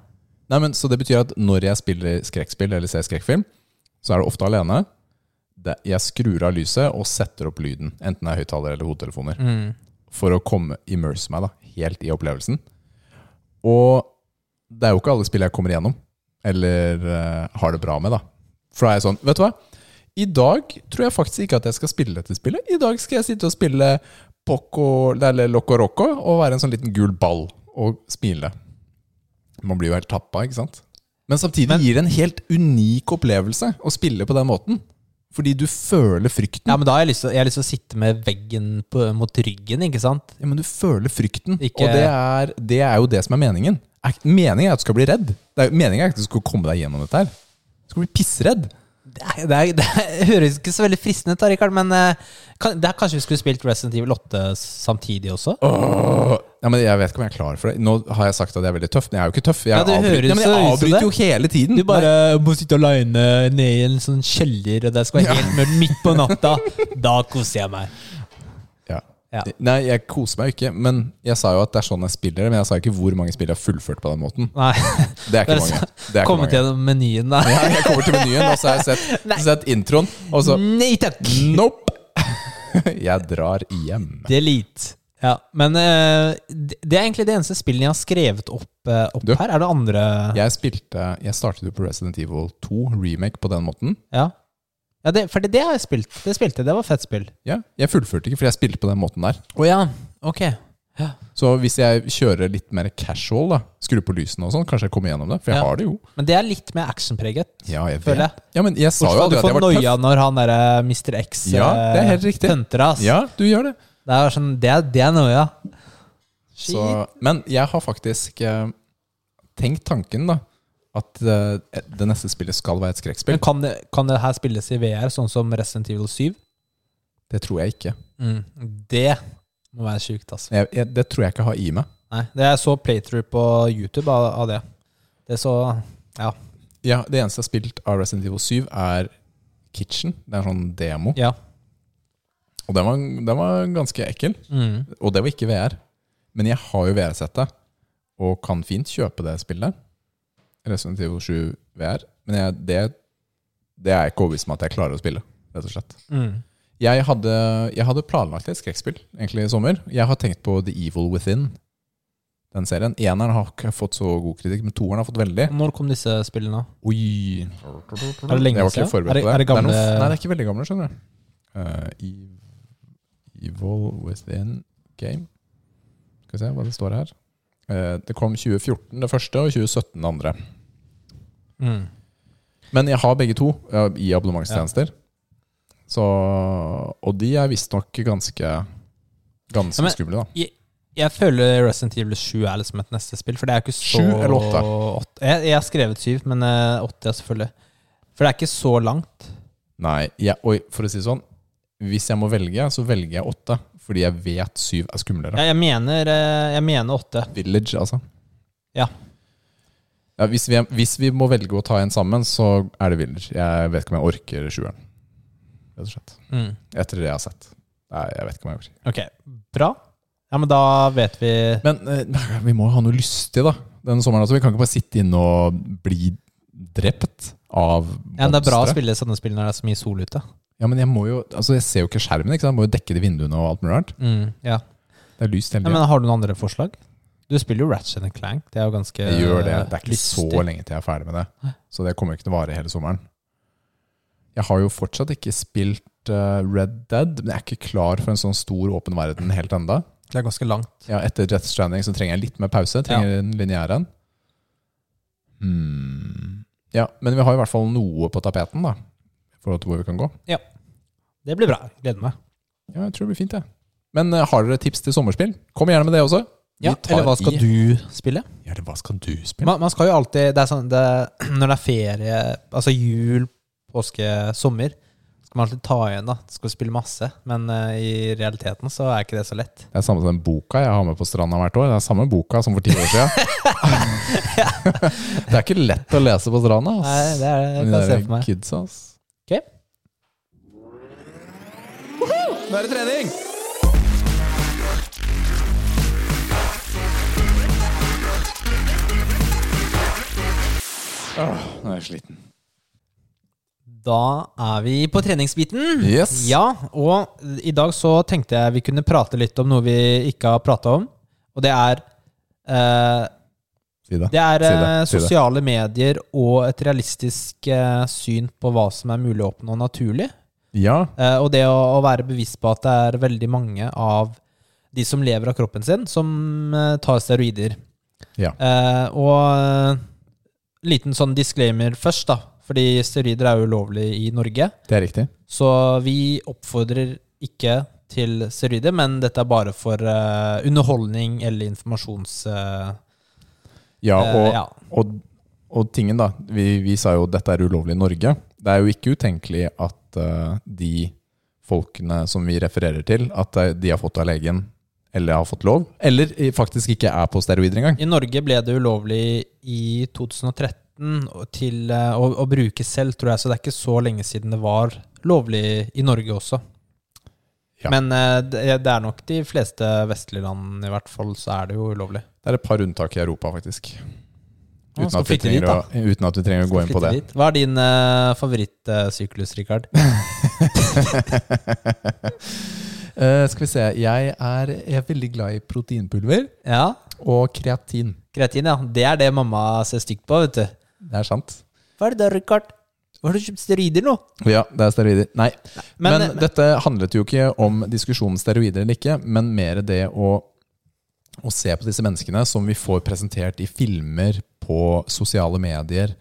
Nei, men, så det betyr at når jeg spiller skrekkspill eller ser skrekkfilm, så er det ofte alene. Det, jeg skrur av lyset og setter opp lyden, enten det er høyttaler eller hodetelefoner, Mm. for å komme immerse meg da, helt i opplevelsen. Og det er jo ikke alle spill jeg kommer igjennom, eller eh, har det bra med, da. For da er jeg sånn, vet du hva? I dag tror jeg faktisk ikke at jeg skal spille dette spillet. I dag skal jeg sitte og spille Poco, eller Loco Roco og være en sånn liten gul ball og smile. Man blir jo helt tappa, ikke sant? Men samtidig Men- gir det en helt unik opplevelse å spille på den måten. Fordi du føler frykten. ja, men da har jeg lyst til, jeg har lyst til å sitte med veggen på, mot ryggen, ikke sant? Ja, men du føler frykten, Ikke- og det er, det er jo det som er meningen. Er ikke- Meningen er at du skal bli redd. Det er, meningen er ikke at du skal komme deg gjennom dette her. Du skal bli pissredd. Det, er, det, er, det er, høres ikke så veldig fristende ut, da, Rikard, men eh, kan, det er kanskje vi skulle spilt Resident Evil 8 samtidig også? Åh. Ja, men jeg vet ikke om jeg er klar for det. Nå har jeg sagt at jeg er veldig tøff, men jeg er jo ikke tøff. Jeg, Ja, det avbryter, høres ja, men jeg så ut som avbryter jo hele tiden. Du bare må sitte aleine nede i en sånn kjeller, og det skal være helt mørkt midt på natta. Da koser jeg meg. Ja. Ja. Nei, jeg koser meg jo ikke, men jeg sa jo at det er sånn jeg spiller, men jeg sa ikke hvor mange spill jeg har fullført på den måten. Nei, Det er ikke mange. Det er ikke Kommet mange. gjennom menyen, da. [LAUGHS] Ja, jeg kommer til menyen, og så har jeg sett, [LAUGHS] Nei. sett introen, og så Nei takk! Nope! [LAUGHS] Jeg drar hjem. Delete. Ja, men eh, det det er egentlig det eneste spillet jeg har skrevet opp, eh, opp Du. her. Er det andre Jeg spilte Jeg startet jo på Resident Evil 2 remake på den måten. Ja, ja det, for det, det har jeg spilt. Det spilte jeg. Det var fett spill. Ja, jeg fullførte ikke, for jeg spilte på den måten der. Å ja. Ok. Ja. Så hvis jeg kjører litt mer casual, da skrur på lysene og sånn, kanskje jeg kommer gjennom det. For jeg Ja. har det jo. Men det er litt mer actionpreget. Ja, jeg Føler jeg. vet. Ja, men jeg sa jo Hvorfor aldri du at får jeg var noia tøff. når han derre Mr. X Ja, det er helt riktig. punter deg, ass. Ja, du gjør det. Det er sånn, det, er- det er noia. Så, men jeg har faktisk eh, tenkt tanken, da, at eh, det neste spillet skal være et skrekkspill. Men kan det, kan det her spilles i VR, sånn som Resident Evil 7? Det tror jeg ikke. Det må være sjukt, altså. Jeg, jeg, det tror jeg ikke har i meg. Nei, det jeg så playthrough på YouTube av, av det. Det så Ja. Ja, Det eneste jeg har spilt av Resident Evil 7, er Kitchen. Det er en sånn demo. ja. Og den var, den var ganske ekkel. Mm. Og det var ikke VR. Men jeg har jo VR-settet, og kan fint kjøpe det spillet. Resident Evil 7 VR. Men jeg, det, det er jeg ikke overbevist om at jeg klarer å spille, rett og slett. Mm. Jeg hadde, jeg hadde planlagt et skrekkspill egentlig i sommer. Jeg har tenkt på The Evil Within, den serien. Eneren har ikke fått så god kritikk, men toeren har fått veldig. Når kom disse spillene? Oi! Er det lenge jeg var ikke siden? forberedt Er det- på det. er det gamle- det er noen- nei, det er ikke veldig gamle, skjønner du. Eh, Ev- evil Within Game. Skal vi se hva det står her. Eh, det kom 2014 det første, og 2017 det andre. Mm. Men jeg har begge to eh, i abonnementstjenester. Så, og de er visstnok ganske Ganske Ja, men- skumle, da. Jeg føler Resident Evil 7 er liksom et neste spill. For det er jo ikke så Sju eller åtte? åtte? Jeg, jeg har skrevet 7, men eh, åtte, ja, selvfølgelig. For det er ikke så langt. Nei, jeg, oi, for å si det sånn. Hvis jeg må velge, så velger jeg åtte. Fordi jeg vet syv er skumlere. Jeg, jeg, mener, eh, jeg mener åtte. Village, altså. Ja. Ja, hvis, vi, hvis vi må velge å ta en sammen, så er det Wilder. Jeg vet ikke om jeg orker sjueren. Rett og slett. Mm. Etter det jeg har sett. Nei, jeg vet ikke om jeg orker. Ok, bra. Ja, men da vet vi Men eh, vi må jo ha noe lystig, da. Denne sommeren også. Vi kan ikke bare sitte inne og bli drept av ja, men Det er bra å monstre. spille sånne spill når det er så mye sol ute. Ja, men jeg må jo Altså, jeg ser jo ikke skjermen, ikke sant. Jeg må jo dekke de vinduene og alt mulig rart. Mm, ja. Det er lyst hele ja, tiden. men Har du noen andre forslag? Du spiller jo Ratchet and Clank. Det er jo ganske Jeg gjør det. Det er ikke Eh, lystig. så lenge til jeg er ferdig med det. Så det kommer ikke til å vare hele sommeren. Jeg har jo fortsatt ikke spilt eh, Red Dead, men jeg er ikke klar for en sånn stor åpen verden helt enda. Det er ganske langt. Ja, etter Death Stranding så trenger jeg litt mer pause. Trenger den lineære en. Hmm. Ja, men vi har i hvert fall noe på tapeten, da. I forhold til hvor vi kan gå. Det blir bra. Gleder meg. Ja, jeg tror det blir fint, jeg. Men eh, har dere tips til sommerspill? Kom gjerne med det også. Vi Ja, tar eller hva skal i. du spille? Ja, eller hva skal du spille? Man, man skal jo alltid det er sånn, det, Når det er ferie, altså jul, påske, sommer, skal man alltid ta igjen. da Skal spille masse. Men eh, i realiteten så er ikke det så lett. Det er samme som den boka jeg har med på stranda hvert år. Det er samme boka som for ti år [LAUGHS] siden. det er ikke lett å lese på stranda. ass. Nei, det er det jeg Men kan se der for meg. Kidsa, ass. Ok. Nå er det trening! Åh, nå er jeg sliten. Da er vi på treningsbiten. Yes. Ja, og i dag så tenkte jeg vi kunne prate litt om noe vi ikke har prata om. Og det er eh, Si det. Det er Si eh, Si sosiale medier og et realistisk eh, syn på hva som er mulig å oppnå naturlig. Ja, Eh, og det å, å være bevisst på at det er veldig mange av de som lever av kroppen sin, som eh, tar steroider. Ja. Eh, og eh, liten sånn disclaimer først, da. Fordi steroider er jo ulovlig i Norge. det er riktig. Så vi oppfordrer ikke til steroider, men dette er bare for eh, underholdning eller informasjons... eh, Ja, eh, og, ja. Og, og tingen da, vi, vi sa jo at dette er ulovlig i Norge. Det er jo ikke utenkelig at eh, de folkene som vi refererer til, at eh, de har fått av legen eller har fått lov, eller i- faktisk ikke er på steroider engang. I Norge ble det ulovlig i 2013 og til eh, å, å bruke selv, tror jeg, så det er ikke så lenge siden det var lovlig i Norge også. Ja. Men eh, det det er nok de fleste vestlige land, i hvert fall, så er det jo ulovlig. Det er et par unntak i Europa, faktisk. Ja, Uten skal at, vi flytte dit, trenger å, uten at vi trenger å gå inn på det. Flytte dit. Hva er din uh, favorittsyklus, Rikard? Eh, skal vi se, jeg er, jeg er veldig glad i proteinpulver Ja, og kreatin. kreatin, ja. Det er det mamma ser stygt på, vet du. Det er sant. Hva er det der, Rikard? Har du kjøpt steroider nå? Ja, det er steroider. Nei, Men- men, dette handlet jo ikke om diskusjonen steroider eller ikke, men mer det å, å se på disse menneskene som vi får presentert i filmer, på sosiale medier,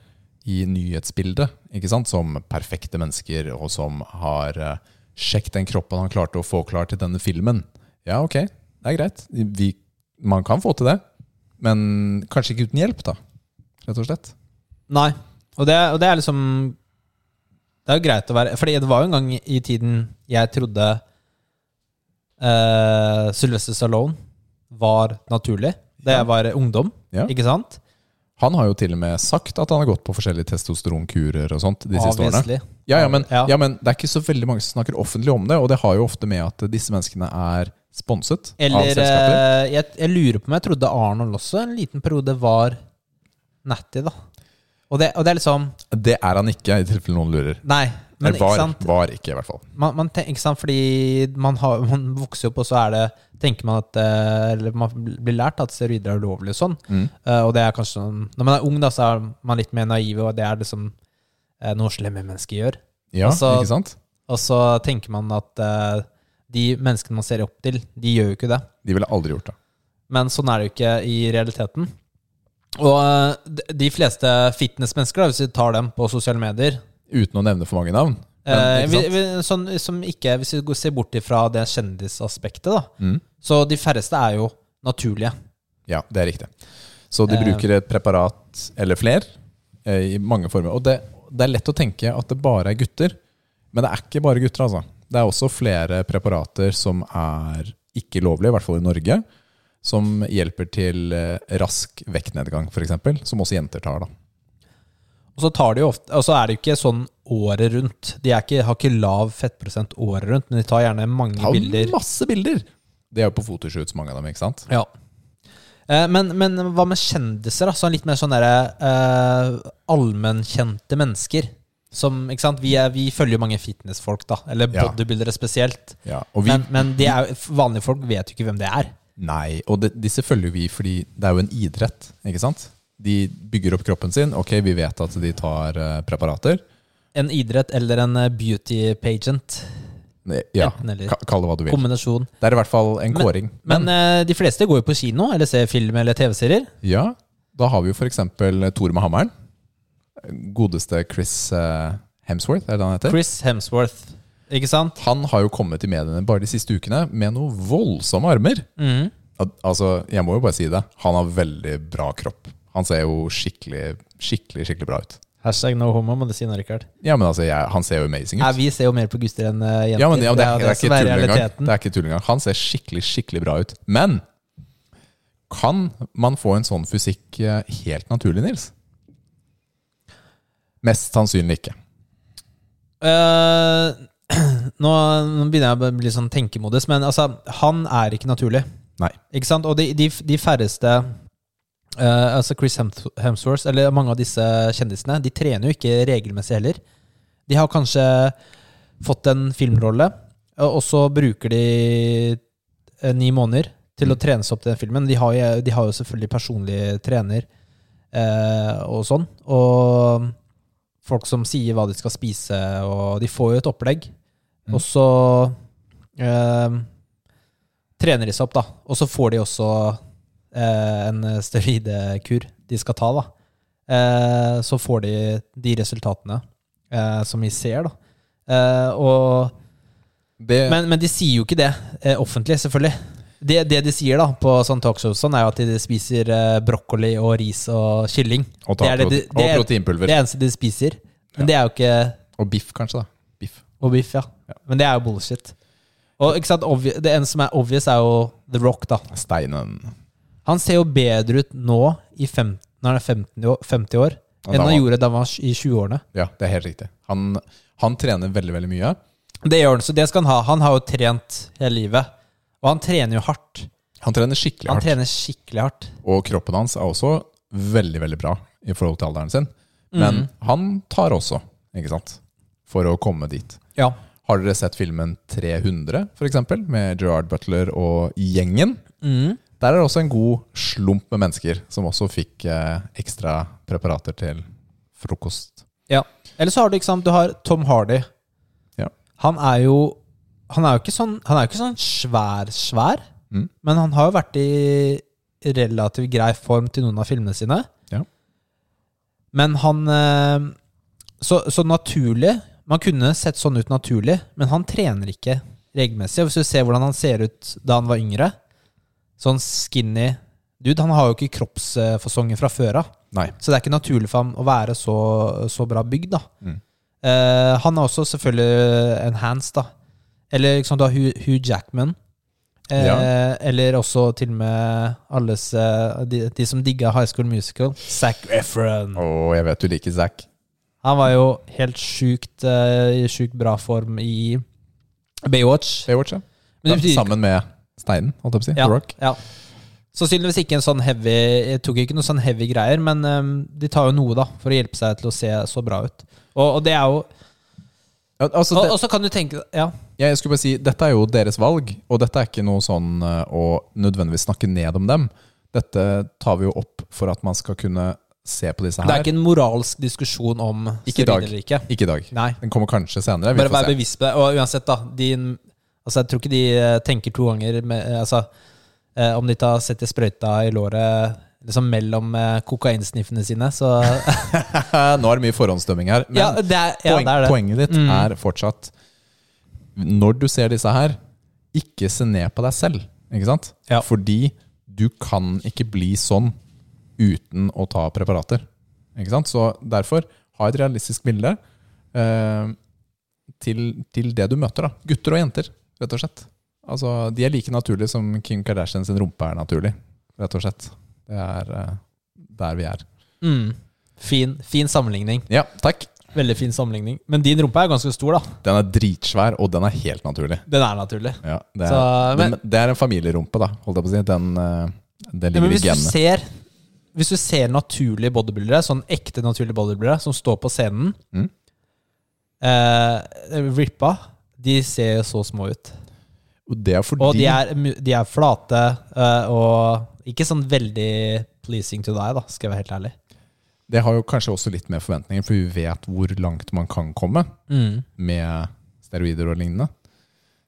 i nyhetsbildet, ikke sant? som perfekte mennesker, og som har eh, sjekk den kroppen han klarte å få klar til denne filmen. Ja, ok, det er greit. Vi, man kan få til det, men kanskje ikke uten hjelp, da. Rett og slett. Nei. Og det, og det er liksom Det er jo greit å være Fordi det var jo en gang i tiden jeg trodde eh, Sylvester Stallone var naturlig da jeg var ungdom. Ja. Ikke sant? Han har jo til og med sagt at han har gått på forskjellige testosteronkurer og sånt de siste årene. Obviously. Ja, ja, men, Ja. ja. men det er ikke så veldig mange som snakker offentlig om det, og det har jo ofte med at disse menneskene er sponset av Eller selskaper. eh, jeg, jeg lurer på om jeg trodde Arnold også en liten periode var natty, da. Og det, og det er liksom Det er han ikke, i tilfelle noen lurer. Nei. Men Eller var, ikke sant? var ikke, i hvert fall. man, man tenk, ikke sant? Fordi man, har, [LAUGHS] man vokser opp, og så er det, tenker man at eh, Eller man blir lært at steroider er ulovlig og sånn. Eh, og det er kanskje sånn- Når man er ung, da, så er man litt mer naiv, og det er liksom eh, noe slemme mennesker gjør. Ja, Altså- ikke sant? Og så tenker man at eh, de menneskene man ser opp til, de gjør jo ikke det. De ville aldri gjort det. Men sånn er det jo ikke i realiteten. Og eh, de- de fleste fitnessmennesker, da, hvis vi tar dem på sosiale medier, Uten å nevne for mange navn. Men, Eh, ikke vi, sant? vi, sånn, som ikke, hvis vi går- ser bort ifra det kjendisaspektet, da. Mm. Så de færreste er jo naturlige. Ja, det er riktig. Så de Eh. bruker et preparat eller fler eh, i mange former. Og det, det er lett å tenke at det bare er gutter, men det er ikke bare gutter, altså. Det er også flere preparater som er ikke lovlige, i hvert fall i Norge, som hjelper til eh, rask vektnedgang, f.eks., som også jenter tar. da. Og så, tar de jo ofte, og så er det jo ikke sånn året rundt. De er ikke, har ikke lav fettprosent året rundt, men de tar gjerne mange Ta bilder. masse bilder! Det er jo på fotoshoots, mange av dem. ikke sant? Ja. Eh, Men, men hva med kjendiser? da? Sånn litt mer sånn derre eh, allmennkjente mennesker. Som, ikke sant? Vi, er, vi følger jo mange fitnessfolk, da. Eller Ja. bodybuildere spesielt. Ja, og vi, Men, men de er, jo- vanlige folk vet jo ikke hvem det er. Nei, og det, disse følger vi fordi det er jo en idrett, ikke sant? De bygger opp kroppen sin. Ok, vi vet at de tar eh, preparater. En idrett eller en eh, beauty pageant. Ne- Ja, Enten eller. ka- kall det hva du vil. Kombinasjon. Det er i hvert fall en kåring. Men eh, de fleste går jo på kino eller ser film eller TV-serier. Ja, da har vi jo for eksempel Thor med hammeren. Godeste Chris eh, Hemsworth, er det han heter? Chris Hemsworth, ikke sant? Han har jo kommet i mediene bare de siste ukene med noen voldsomme armer. Mhm. Al- Altså, jeg må jo bare si det. Han har veldig bra kropp. Han ser jo skikkelig, skikkelig, skikkelig bra ut. Hashtag no homo, må du si nå, Rikard. Ja, men altså, jeg, han ser jo amazing ut. Nei, vi ser jo mer på gutter enn eh, jenter. Ja, men, ja, men det, er, det, er ikke som tull engang. realiteten. det er ikke tull engang. Han ser skikkelig, skikkelig bra ut. Men kan man få en sånn fysikk eh, helt naturlig, Nils? Mest sannsynlig ikke. Eh, [CLEARS THROAT] nå, nå begynner jeg å bli sånn tenkemodus, men altså, han er ikke naturlig. Nei. Ikke sant? Og de, de, de færreste eh, Altså Chris Hems- Hemsworth, eller mange av disse kjendisene, de trener jo ikke regelmessig heller. De har kanskje fått en filmrolle, og og så bruker de eh, ni måneder til å trene seg opp til den filmen. De har jo, de har jo selvfølgelig personlig trener eh, og sånn. Og folk som sier hva de skal spise, og de får jo et opplegg. Og så eh, trener de seg opp, da. Og så får de også eh, en steroidekur de skal ta, da. Eh, så får de de resultatene eh, som vi ser, da. Eh, og, Det, men, men de sier jo ikke det eh, offentlig, selvfølgelig. Det, det de sier da på sånn talkshow, sånn, er jo at de spiser eh, brokkoli og ris og kylling. og, ta det er det- prote- det- det og er- proteinpulver. Det eneste de spiser. Men det er jo ikke og biff, kanskje. da. Biff. Og biff, ja. Men det er jo bullshit. Og ikke sant, obvi- det ene som er obvious, er jo The Rock, da. Steinen. Han ser jo bedre ut nå, i fem, når han er 15 år, 50 år, Ja, enn da han var- gjorde da han var i 20-årene. Ja, det er helt riktig. Han, han trener veldig, veldig mye. Det gjør han, så det skal han ha. Han har jo trent hele livet. Og han trener jo hardt. Han trener skikkelig Han hardt. trener skikkelig hardt. Og kroppen hans er også veldig, veldig bra i forhold til alderen sin. Men Mhm. han tar også, ikke sant, for å komme dit. Ja. Har dere sett filmen 300, for eksempel, med Gerard Butler og gjengen? Mm. Der er det også en god slump med mennesker som også fikk eh, ekstra preparater til frokost. ja. Eller så har du, ikke sant, du har Tom Hardy. Ja. Han er jo Han er jo ikke sånn, han er jo ikke sånn svær, svær, Mm. men han har jo vært i relativt grei form til noen av filmene sine. Ja. Men han eh, så, så naturlig Man kunne sett sånn ut naturlig, men han trener ikke regelmessig. Og Hvis du ser hvordan han ser ut da han var yngre, sånn skinny dude Han har jo ikke kroppsfasongen fra før av, Nei. så det er ikke naturlig for ham å være så, så bra bygd. da Mm. Eh, Han er også selvfølgelig enhanced, da. Eller liksom, du har Hugh, Hugh Jackman. Eh, Eller også til og med alles eh, de, de som digga High School Musical. Zac Efron. Og jeg vet du liker Zack. Han var jo helt sjukt eh, i sjukt bra form i Baywatch. Baywatch, ja. Men det Ja, betyr ikke- Sammen med Steinen, holdt jeg på å si. ja, The Rock. Ja. Sannsynligvis ikke en sånn heavy Jeg tok ikke noe sånn heavy greier, men eh, de tar jo noe, da, for å hjelpe seg til å se så bra ut. Og, og det er jo Ja, altså, Og det, og så kan du tenke Ja. Ja, jeg skulle bare si, dette er jo deres valg, og dette er ikke noe sånn eh, å nødvendigvis snakke ned om dem. Dette tar vi jo opp for at man skal kunne se på disse her. Det er ikke en moralsk diskusjon om Ikke i dag. steroider eller ikke. Ikke i dag. Nei. Den kommer kanskje senere. Vi Bare får vær se. bevisst på det. Og uansett, da. Din, altså, jeg tror ikke de eh, tenker to ganger med, eh, altså, eh, Om de tar setter sprøyta i låret liksom mellom eh, kokainsniffene sine, så Nå er det mye forhåndsdømming her. Men [LAUGHS] ja, det er, ja, poeng, det Mm. er det. poenget ditt er fortsatt Når du ser disse her, ikke se ned på deg selv. Ikke sant? Ja. Fordi du kan ikke bli sånn uten å ta preparater. Ikke sant? Så derfor, ha et realistisk bilde eh, til, til det du møter. da Gutter og jenter, rett og slett. Altså, de er like naturlige som Kim Kardashian sin rumpe er naturlig, rett og slett. Det er eh, der vi er. Mm. Fin, fin sammenligning. Ja, takk. Veldig fin sammenligning. Men din rumpe er ganske stor, da. Den er dritsvær, og den er helt naturlig. Den er naturlig. Ja, det, er, Så, eh, men- det, det er en familierumpe, da, holdt jeg på å si. Den, eh, det Ja, ligger i men hvis du genene. ser Hvis du ser naturlige bodybuildere, sånn ekte naturlige bodybuildere som står på scenen, Mm. eh, rippa, de ser jo så små ut. Og det er fordi Og de er, mu- de er flate eh, og ikke sånn veldig pleasing to deg, da, skal jeg være helt ærlig. Det har jo kanskje også litt mer forventninger, for vi vet hvor langt man kan komme Mm, med steroider og lignende.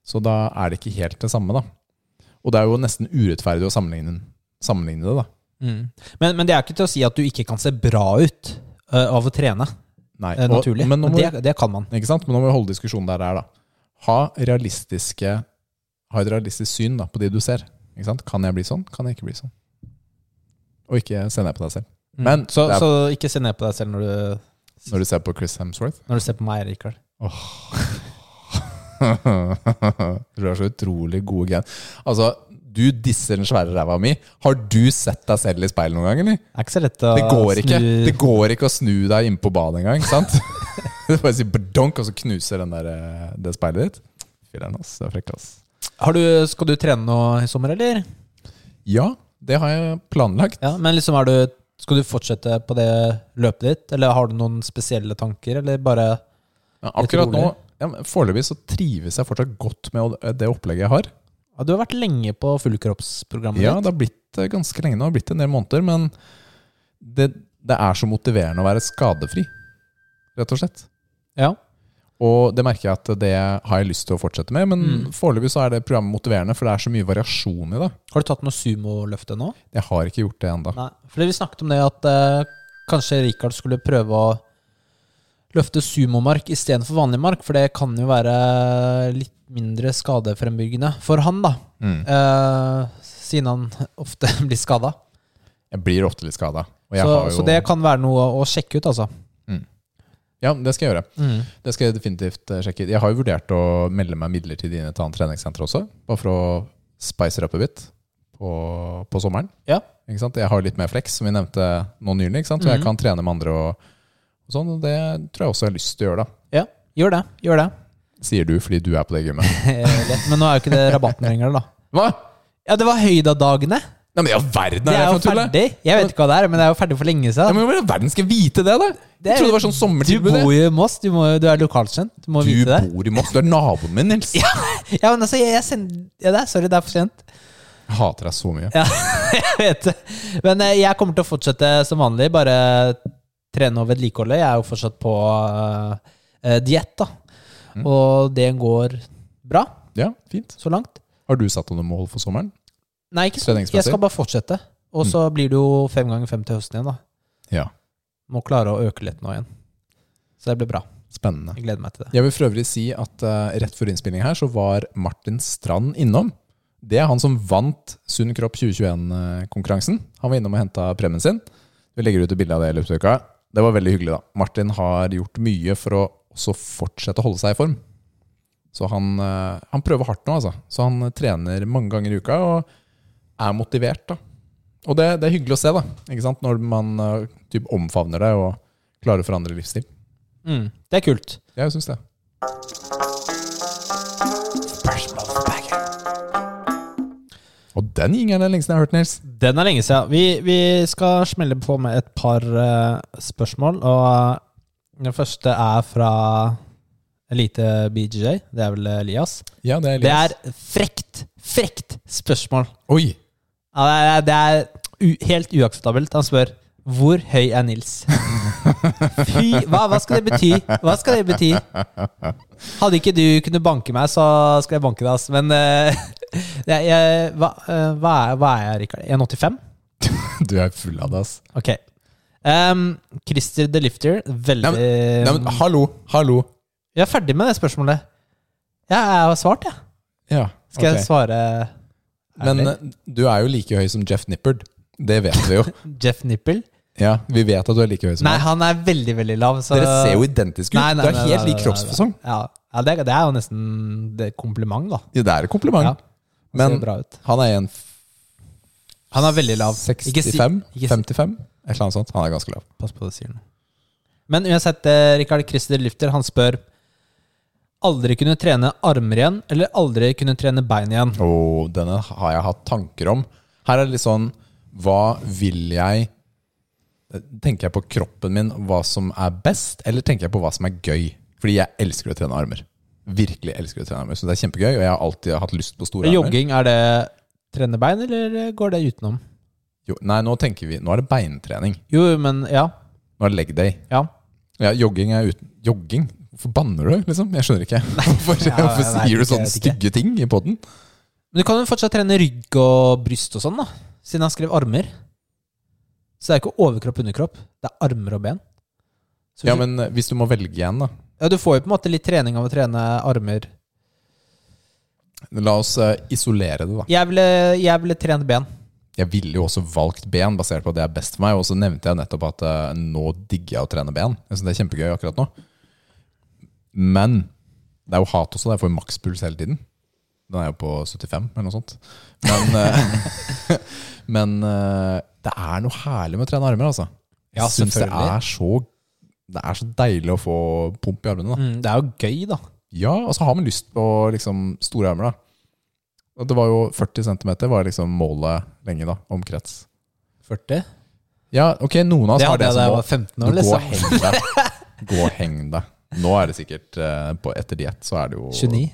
Så da er det ikke helt det samme, da. Og det er jo nesten urettferdig å sammenligne, sammenligne det, da. Mm. Men, men det er ikke til å si at du ikke kan se bra ut eh, av å trene Nei, eh, og- naturlig. men nå må vi- det, det kan man. Ikke sant? Men nå må vi holde diskusjonen der det er, da. Ha, realistiske, ha et realistisk syn da, på de du ser. Ikke sant? Kan jeg bli sånn? Kan jeg ikke bli sånn? Og ikke se ned på deg selv. Mm. Men så, det er- så ikke se ned på deg selv når du, Når du ser på Chris Hemsworth [LAUGHS] når du ser på meg, Rikard. Du har så utrolig gode gen. Altså, du disser den svære ræva mi. Har du sett deg selv i speilet noen gang, eller? Det er ikke så lett å Det går ikke. snu- Det går ikke å snu deg innpå badet engang, ikke [LAUGHS] sant? Du bare sier badonk, og så knuser den der, eh, det speilet ditt. Filler'n, ass. Det er frekk, ass. Har du, skal du trene nå i sommer, eller? Ja, det har jeg planlagt. Ja, men liksom er du, skal du fortsette på det løpet ditt, eller har du noen spesielle tanker, eller bare Ja, akkurat nå, rolig. ja, men Foreløpig så trives jeg fortsatt godt med å- det opplegget jeg har. ja, Du har vært lenge på fullkroppsprogrammet Ja, ditt. det har blitt eh, ganske lenge nå, det har blitt en del måneder, men det, det er så motiverende å være skadefri, rett og slett. Ja. Og det merker jeg at det har jeg lyst til å fortsette med, men Mm. foreløpig så er det programmet motiverende, for det er så mye variasjon i det. Har du tatt noe sumoløft ennå? Jeg har ikke gjort det ennå. Nei. Fordi vi snakket om det at eh, kanskje Rikard skulle prøve å løfte sumomark istedenfor vanlig mark, for det kan jo være litt mindre skadefrembyrgende for han, da. Mm. Eh, siden han ofte [LAUGHS] blir skada. Jeg blir ofte litt skada. Så, så det kan være noe å sjekke ut, altså. Ja, det skal jeg gjøre. Mm. Det skal jeg definitivt eh, sjekke. Jeg har jo vurdert å melde meg midlertidig inn i et annet treningssenter også, bare for å spice det opp a bit på, på sommeren. Ja. Ikke sant? Jeg har litt mer flex, som vi nevnte nå nylig, ikke sant? og jeg Mhm. kan trene med andre og, og sånn, og det tror jeg også jeg har lyst til å gjøre, da. Ja, gjør det. Gjør det. Sier du fordi du er på det gymmet. [LAUGHS] Eh, lett. Men nå er jo ikke det rabatten lenger, da. Hva? Ja, det var høydadagene. Nei, men i all verden Det er er det jo for tull, det? ferdig. Jeg vet ikke hva det er, men det er jo ferdig for lenge Ja, siden. men i all verden skal jeg vite det, da? Det er- Jeg trodde det var sånn Du sommertilbud. bor det. jo i Moss, du, må, jo- du er lokalkjent. Du må Du vite det. bor i Moss, du er naboen min, Nils. [LAUGHS] Ja, men altså, jeg, jeg sender ja, det er, Sorry, det er for sent. Jeg hater deg så mye. Ja, jeg vet det. Men eh, jeg kommer til å fortsette som vanlig. Bare trene og vedlikeholde. Jeg er jo fortsatt på uh, diett, da. Mm. Og det går bra Ja, fint. så langt. Har du satt deg noe mål for sommeren? Nei, ikke sånn. Treningsmessig? Mm. Jeg skal bare fortsette. Og så blir det jo fem ganger fem til høsten igjen, da. Ja. Må klare å øke litt nå igjen. Så det blir bra. Spennende. Jeg gleder meg til det. Jeg vil for øvrig si at eh, rett før innspilling her så var Martin Strand innom. Det er han som vant Sunn kropp 2021-konkurransen. Han var innom og henta premien sin. Vi legger ut et bilde av det i løpet av uka. Det var veldig hyggelig, da. Martin har gjort mye for å også fortsette å holde seg i form. Så han, eh, han prøver hardt nå, altså. Så han eh, trener mange ganger i uka og er motivert, da. Og det, det er hyggelig å se, da. Ikke sant? Når man eh, typ omfavner det og klarer å forandre livsstil. Mm. Det er kult. Jeg syns det. Og den gingen er den lengste jeg har hørt, Nils. Den er lenge siden. Vi, vi skal smelle på med et par eh, spørsmål. Og eh, den første er fra Elite BJJ. Det er vel eh, Elias. Ja, det er Det er frekt, frekt spørsmål. Oi! [LAUGHS] Ja, det er, det er u helt uakseptabelt. Han spør hvor høy er Nils? Fy, hva, hva skal det bety? Hva skal det bety? Hadde ikke du kunnet banke meg, så skal jeg banke deg, ass. Men eh, [LAUGHS] jeg, jeg, hva, eh, hva, er, hva er jeg, Rikard? 1,85? Du er full av det, ass. Ok. Ehm, Christer the Lifter, veldig Nei, men hallo, hallo. Jeg er ferdig med det spørsmålet. Ja, jeg har svart, jeg. Ja. Ja, Skal jeg ok. svare Men eh, du er jo like høy som Jeff Nippard. Det vet vi jo. Jeff Nipple? [LAUGHS] Ja, Vi vet at du er like høy som Nei, meg. han er veldig, veldig lav. Så... Dere ser jo identiske ut. Nei, nei, du er nei, helt nei, lik nei, kroppsfasong. nei. Ja, ja det, er- det er jo nesten det er kompliment, da. Ja, det er et kompliment. Ja, Han Men ser bra ut. han er en Han er veldig lav. Ikke si- 65? ikke si- 55? Et eller annet sånt. Han er ganske lav. Pass på hva du sier nå. Men uansett, eh, Rikard Christer Lufter, han spør Aldri kunne trene armer igjen, eller aldri kunne trene bein igjen? Og denne har jeg hatt tanker om. Her er det litt sånn Hva vil jeg Tenker jeg på kroppen min, hva som er best, eller tenker jeg på hva som er gøy? Fordi jeg elsker å trene armer. Virkelig elsker å trene armer. Så det er kjempegøy, og jeg har alltid hatt lyst på store armer. Jogging, er det trene bein, eller går det utenom? Jo, nei, nå tenker vi Nå er det beintrening. Jo, men ja. Nå er det leg day. Ja. Ja, jogging er uten Jogging? Hvorfor banner du, liksom? Jeg skjønner ikke. [LAUGHS] Hvorfor, Ja, jeg hvorfor vet sier du ikke, jeg sånne vet ikke. stygge ting i poden? Men du kan jo fortsatt trene rygg og bryst og sånn, da. Siden han skrev armer. Så det er ikke overkropp underkropp. Det er armer og ben. Så hvis Ja, du- men eh, hvis du må velge igjen, da. ja, du får jo på en måte litt trening av å trene armer. La oss eh, isolere det, da. Jeg ville, jeg ville trent ben. Jeg ville jo også valgt ben, basert på at det er best for meg. Og så nevnte jeg nettopp at eh, nå digger jeg å trene ben. Jeg synes det er kjempegøy akkurat nå. Men det er jo hat også. da. Jeg får jo makspuls hele tiden. Den er jo på 75, eller noe sånt. Men, eh, [LAUGHS] men eh, det er noe herlig med å trene armer, altså. Jeg Ja, synes det selvfølgelig. er, så, det er så deilig å få pump i armene. Da. Mm, det er jo gøy, da. Ja, og så har man lyst på liksom, store armer, da. Og det var jo 40 cm var liksom målet lenge, da. Omkrets. 40? Ja, ok, noen av oss Det har hadde det jeg da jeg som var 15 mål. år, Men Gå og liksom. heng deg. [LAUGHS] Gå og heng deg. Nå er det sikkert eh, på, Etter diett så er det jo 29?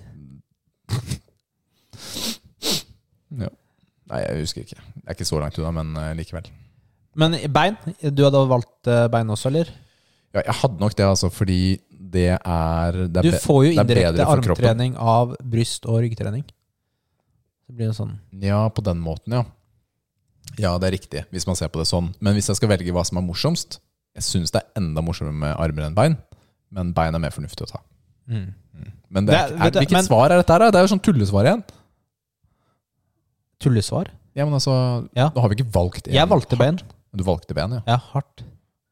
Ja. Nei, jeg husker ikke. Det er ikke så langt unna, men eh, likevel. Men bein? Du hadde valgt eh, bein også, eller? Ja, jeg hadde nok det, altså, fordi det er, det er Du be- får jo det er indirekte bedre for kroppen. armtrening av bryst- og ryggtrening. Det blir jo sånn Ja, på den måten, ja. Ja, det er riktig, hvis man ser på det sånn. Men hvis jeg skal velge hva som er morsomst Jeg syns det er enda morsommere med armer enn bein, men bein er mer fornuftig å ta. mm. Men det er, ikke- Det er- er, vet du, hvilket men- svar er dette her, da? Det er jo sånn tullesvar igjen. tullesvar. Ja, men altså, Ja. Nå har vi ikke valgt en Jeg valgte bein. Du valgte ben, ja. Ja, hardt.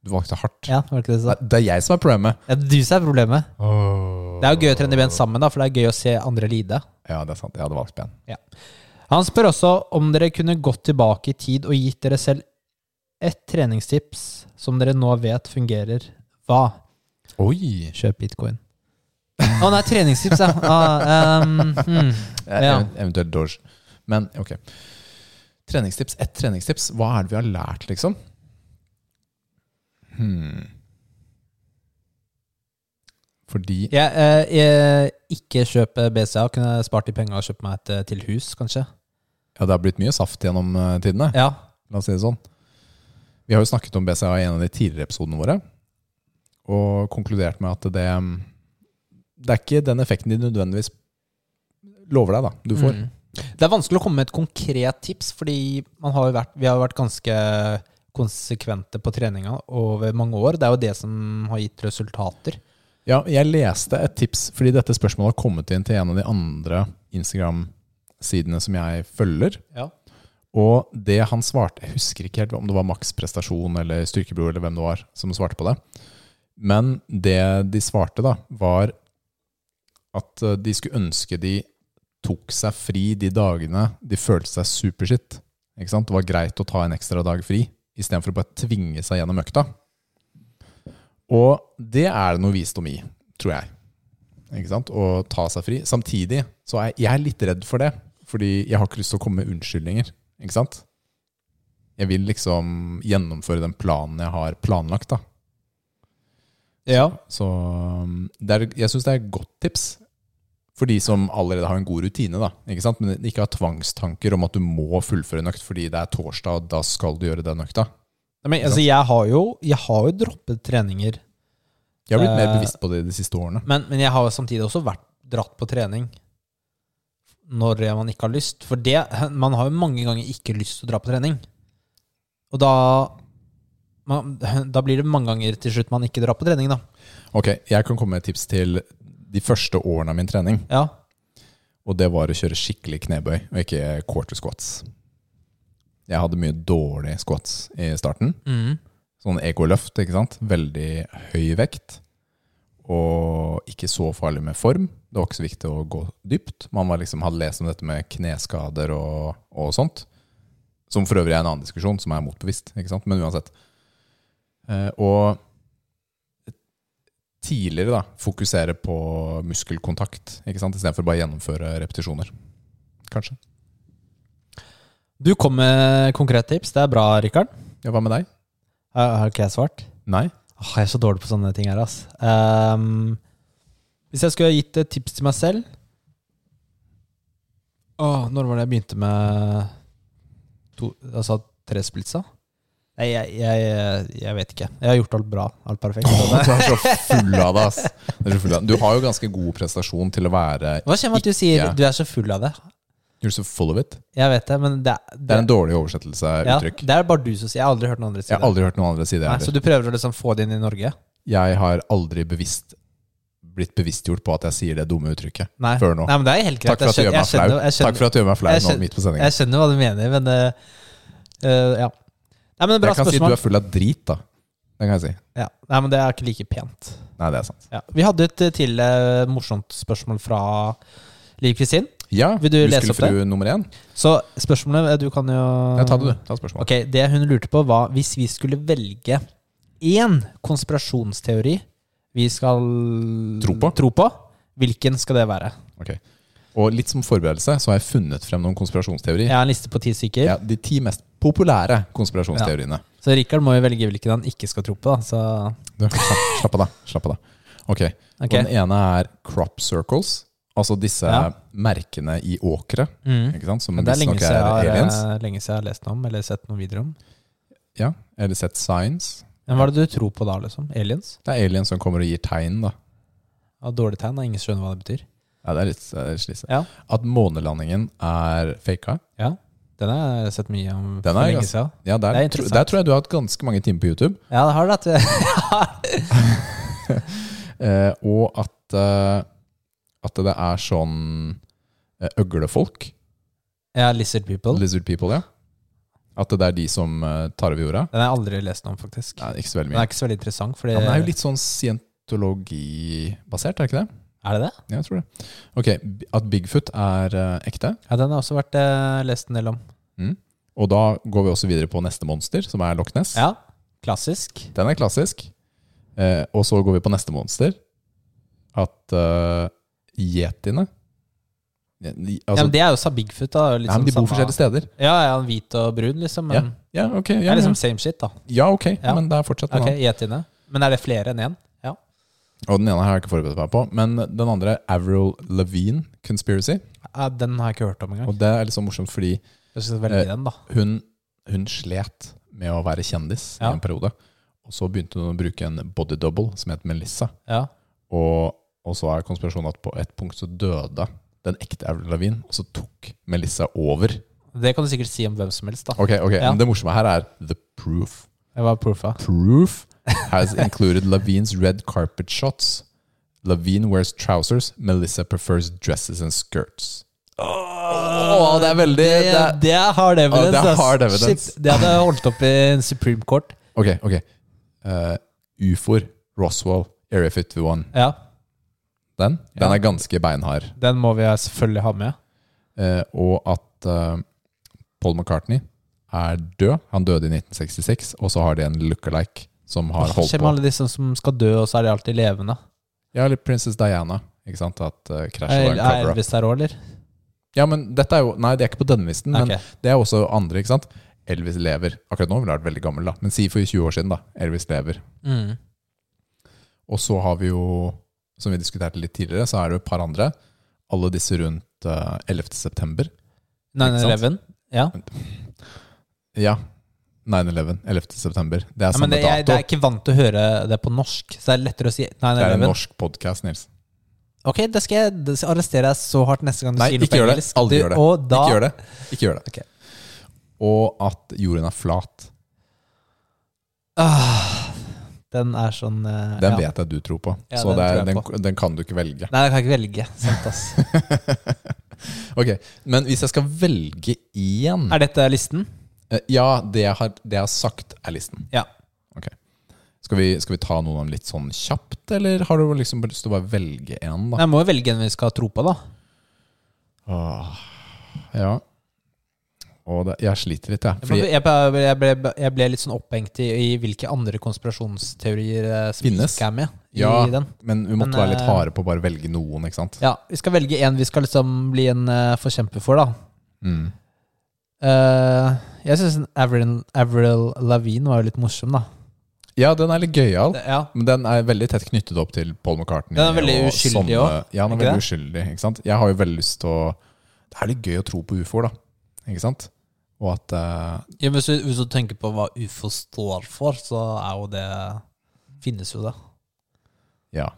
Du valgte hardt. Ja, var det ikke det du sa? Det- Det er jeg som er problemet. Ja, du som er problemet. Det er jo gøy å trene ben sammen, da, for det er gøy å se andre lide. Ja, det er sant. Jeg hadde valgt ben. Han spør også om dere kunne gått tilbake i tid og gitt dere selv ett treningstips som dere nå vet fungerer. Hva? Oi! Kjøp bitcoin. Å nei, treningstips, ja. Ah, um, hmm. Ja. Eh, Ev- Eventuelt Doge. Men ok. Treningstips. Ett treningstips. Hva er det vi har lært, liksom? Hmm. Fordi Jeg, eh, jeg, ikke kjøpe BCA. Kunne jeg spart de penga og kjøpt meg et eh, til hus, kanskje. Ja, det har blitt mye saft gjennom eh, tidene. Ja. La oss si det sånn. Vi har jo snakket om BCA i en av de tidligere episodene våre, og konkludert med at det Det er ikke den effekten de nødvendigvis lover deg, da. Du får. Mm. Det er vanskelig å komme med et konkret tips, fordi man har jo vært, vi har jo vært ganske konsekvente på treninga over mange år. Det er jo det som har gitt resultater. Ja, jeg leste et tips, fordi dette spørsmålet har kommet inn til en av de andre Instagram-sidene som jeg følger. Ja. Og det han svarte Jeg husker ikke helt om det var Max Prestasjon eller Styrkebror eller hvem det var som svarte på det. Men det de svarte, da, var at eh, de skulle ønske de tok seg fri de dagene de følte seg superskitt. Ikke sant? Det var greit å ta en ekstra dag fri istedenfor å bare tvinge seg gjennom økta. Og det er det noe visdom i, tror jeg. Ikke sant? Å ta seg fri. Samtidig så er jeg- jeg er litt redd for det, fordi jeg har ikke lyst til å komme med unnskyldninger. Ikke sant? Jeg vil liksom gjennomføre den planen jeg har planlagt, da. Ja. Så um, det er, jeg syns det er et godt tips for de som allerede har en god rutine, da. Ikke sant? Men ikke har tvangstanker om at du må fullføre en økt fordi det er torsdag, og da skal du gjøre den økta. Men altså, jeg har jo, jeg har jo droppet treninger, Jeg har blitt mer Eh, bevisst på det de siste årene. men, men jeg har jo samtidig også vært dratt på trening når man ikke har lyst. For det, man har jo mange ganger ikke lyst til å dra på trening. Og da man, da blir det mange ganger til slutt man ikke drar på trening, da. Ok, jeg kan komme med et tips til de første årene av min trening. Ja. Og det var å kjøre skikkelig knebøy, og ikke quarter squats. Jeg hadde mye dårlig squats i starten, Sånn ekoløft, ikke sant? Veldig høy vekt. Og ikke så farlig med form. Det var ikke så viktig å gå dypt. Man var liksom, hadde lest om dette med kneskader og, og sånt. Som for øvrig er en annen diskusjon, som er motbevisst. Ikke sant? Men uansett. Eh, og tidligere da, fokusere på muskelkontakt, ikke sant? istedenfor bare gjennomføre repetisjoner. Kanskje. Du kom med konkrete tips. Det er bra, Rikard. Ja, Hva med deg? Har har ikke jeg svart? Nei? Åh, jeg er så dårlig på sånne ting her, ass. Ehm, hvis jeg skulle ha gitt et tips til meg selv Åh, når var det jeg begynte med to, altså tresplitsa? Nei, jeg, jeg, jeg vet ikke. Jeg har gjort alt bra. Alt perfekt. Du er så [LAUGHS] full av det, ass. Du, er så full av det. du har jo ganske god prestasjon til å være Hva skjer med at du sier Ikke. du er så full av det? You're so full of it. Jeg vet det, men det, er- Det er en dårlig oversettelse av ja, uttrykk. det er bare du som sier Jeg har aldri hørt noen andre si Jeg det. har aldri hørt noen andre si det. Nei, så heller. du prøver å liksom få det inn i Norge? Jeg har aldri bevisst blitt bevisstgjort på at jeg sier det dumme uttrykket Nei. før nå. Nei, men det er helt Takk greit. for at du Jeg gjør meg skjønner- flau. jeg skjønner- Takk for at du gjør meg flau jeg nå skjønner- midt på sendingen. Jeg skjønner hva du mener, men eh, eh, ja. Nei, men det er bra Jeg kan si du spørsmål. er full av drit, da. Det kan jeg si. ja. Nei, men det er ikke like pent. Nei, det er sant. Ja. Vi hadde et eh, til eh, morsomt spørsmål fra Liv Kristin. Ja, Vil du lese opp det? Muskelfrue nummer én. Så spørsmålet eh, du kan jo Ja, ta det, du. Ta spørsmålet. Ok, Det hun lurte på, var hvis vi skulle velge én konspirasjonsteori vi skal Tro på. hvilken skal det være? Ok. Og litt som forberedelse så har jeg funnet frem noen konspirasjonsteorier. Jeg har en liste på ti stykker, Ja, de ti mest populære konspirasjonsteoriene. så Rikard må jo velge hvilken han ikke skal tro på. Da. Så Du, slapp, slapp av, da. Slapp av da. Ok. Ok. Og den ene er crop circles. Altså disse Ja. merkene merkene i åkre. mm. Ikke sant? Som Men det er lenge visstnok siden, er jeg aliens. har, eh, lenge siden jeg har lest noe om eller sett noen videoer om. Ja. Eller sett signs. Men hva er det du tror på da, liksom? Aliens? Det er aliens som kommer og gir tegn, da. Av dårlig tegn, og ingen skjønner hva det betyr. Ja, det er litt, det er litt slitsomt. Ja. At månelandingen er faka. Ja, den har jeg sett mye om Den for er lenge ganske- siden. Ja, der, Det er tro- interessant. der tror jeg du har hatt ganske mange timer på YouTube. Ja, det har det. At Eh, og at, eh, at det er sånn eh, øglefolk, [LAUGHS] ja, Lizard People. lizard people, ja. At det er de som eh, tar over jorda. Den har jeg aldri lest noe om, faktisk. Nei, ikke så veldig Den mye. er ikke så veldig interessant, fordi Ja, men det er jo litt sånn scientologibasert, er det ikke det? Er det det? Ja, jeg tror det. Ok, b- At Bigfoot er eh, ekte. Ja, den har også vært eh, lest en del om. Og da går vi også videre på neste monster, som er Loch Ness. Ja, klassisk. Den er klassisk. Eh, og så går vi på neste monster. At eh, yetiene ja, de- ja, altså, men det er jo liksom sa Bigfoot, da. ja, men De bor forskjellige steder. Ja, ja, en hvit og brun, liksom. Men Ja, ok. Ja, det ja. er liksom same shit, da. ja, ok. Ja. Men det er fortsatt en Ok, Yetiene. Men er det flere enn én? Ja. annen. Og den ene har jeg ikke forberedt meg på. Men den andre, Avril Levine Conspiracy. Ja, Den har jeg ikke hørt om engang. Og det er litt sånn morsomt fordi Jeg skal velge Eh, den, da. hun, hun slet med å være kjendis Ja. i en periode. Og så begynte hun å bruke en body double som het Melissa. Ja. Og, og så er konspirasjonen at på et punkt så døde den ekte Avril Lavigne, og så tok Melissa over. Det kan du sikkert si om hvem som helst, da. Ok, ok, Ja. Men det morsomme her er the proof. Jeg var proofa. Proof has included Lavigne's red carpet shots. Lavigne wears trousers. Melissa prefers dresses and skirts. Åh, det er veldig- Det, det er- det er hard evidence. Åh, det er ass. hard evidence. Shit, det hadde holdt opp i en Supreme Court. Ok, ok. Eh, Ufoer. Roswell. Area 51. Ja, Den, den Ja. er ganske beinhard. Den må vi selvfølgelig ha med. Eh, og at eh, Paul McCartney er død. Han døde i 1966, og så har de en lookalike som har Hva holdt skjer med på. alle de som- som skal dø, og så er de alltid levende? Ja, eller Princess Diana. Ikke sant? At uh, Crash var Er en er cover-up. Elvis der òg, eller? Ja, men dette er jo Nei, det er ikke på denne listen, men Ok. det er også andre, ikke sant? Elvis lever. Akkurat nå ville han vært veldig gammel, da. Men si for 20 år siden, da. Elvis lever. Mm. Og så har vi jo, som vi diskuterte litt tidligere, så er det jo et par andre. Alle disse rundt uh, 11. september. 9-11? Ja. Ja. 9-11. 11. september. Det er ja, men samme det, jeg, det dato. er ikke vant til å høre det på norsk, så det er lettere å si Det er en 9-11. norsk podkast, Nils. Ok, det skal jeg det skal jeg arrestere deg så hardt neste gang du Nei, sier noe ikke på gjør det. engelsk. Aldri gjør det. Og da, Ikke gjør det. Ikke gjør det. Ok. Og at jorden er flat. Ah, den er sånn eh, Den ja. vet jeg du tror på. Ja, så den det er, tror jeg den, den kan du ikke velge. Nei, jeg kan ikke velge. Sant, ass. ok, Men hvis jeg skal velge én Mm. Er dette listen? Eh, Ja, det jeg, har, det jeg har sagt, er listen. Ja. Ok. Skal vi, skal vi ta noen av dem litt sånn kjapt, eller har du liksom bare lyst til å bare velge én, da? Nei, må jo velge en vi skal tro på, da. Åh, ja. Og det, jeg sliter litt, jeg. Jeg Fordi ble, jeg ble, jeg ble, jeg ble litt sånn opphengt i, i hvilke andre konspirasjonsteorier eh, som Finnes. ikke er med i Ja. den. Men vi måtte Men, være litt eh, harde på å bare velge noen, ikke sant? Ja, vi skal velge en vi skal liksom bli en eh, forkjemper for, da. Mm. Eh, jeg syns Avril, Avril Lavigne var jo litt morsom, da. Ja, den er litt gøyal. Det, ja. Men den er veldig tett knyttet opp til Paul McCartney. Den er veldig og uskyldig sånne- også, Ja, den er ikke veldig uskyldig. ikke sant? Jeg har jo veldig lyst til å Det er litt gøy å tro på ufoer, da. Ikke sant? Og at eh, Ja, men hvis, du, hvis du tenker på hva ufo står for, så er jo det Finnes jo det. Ja.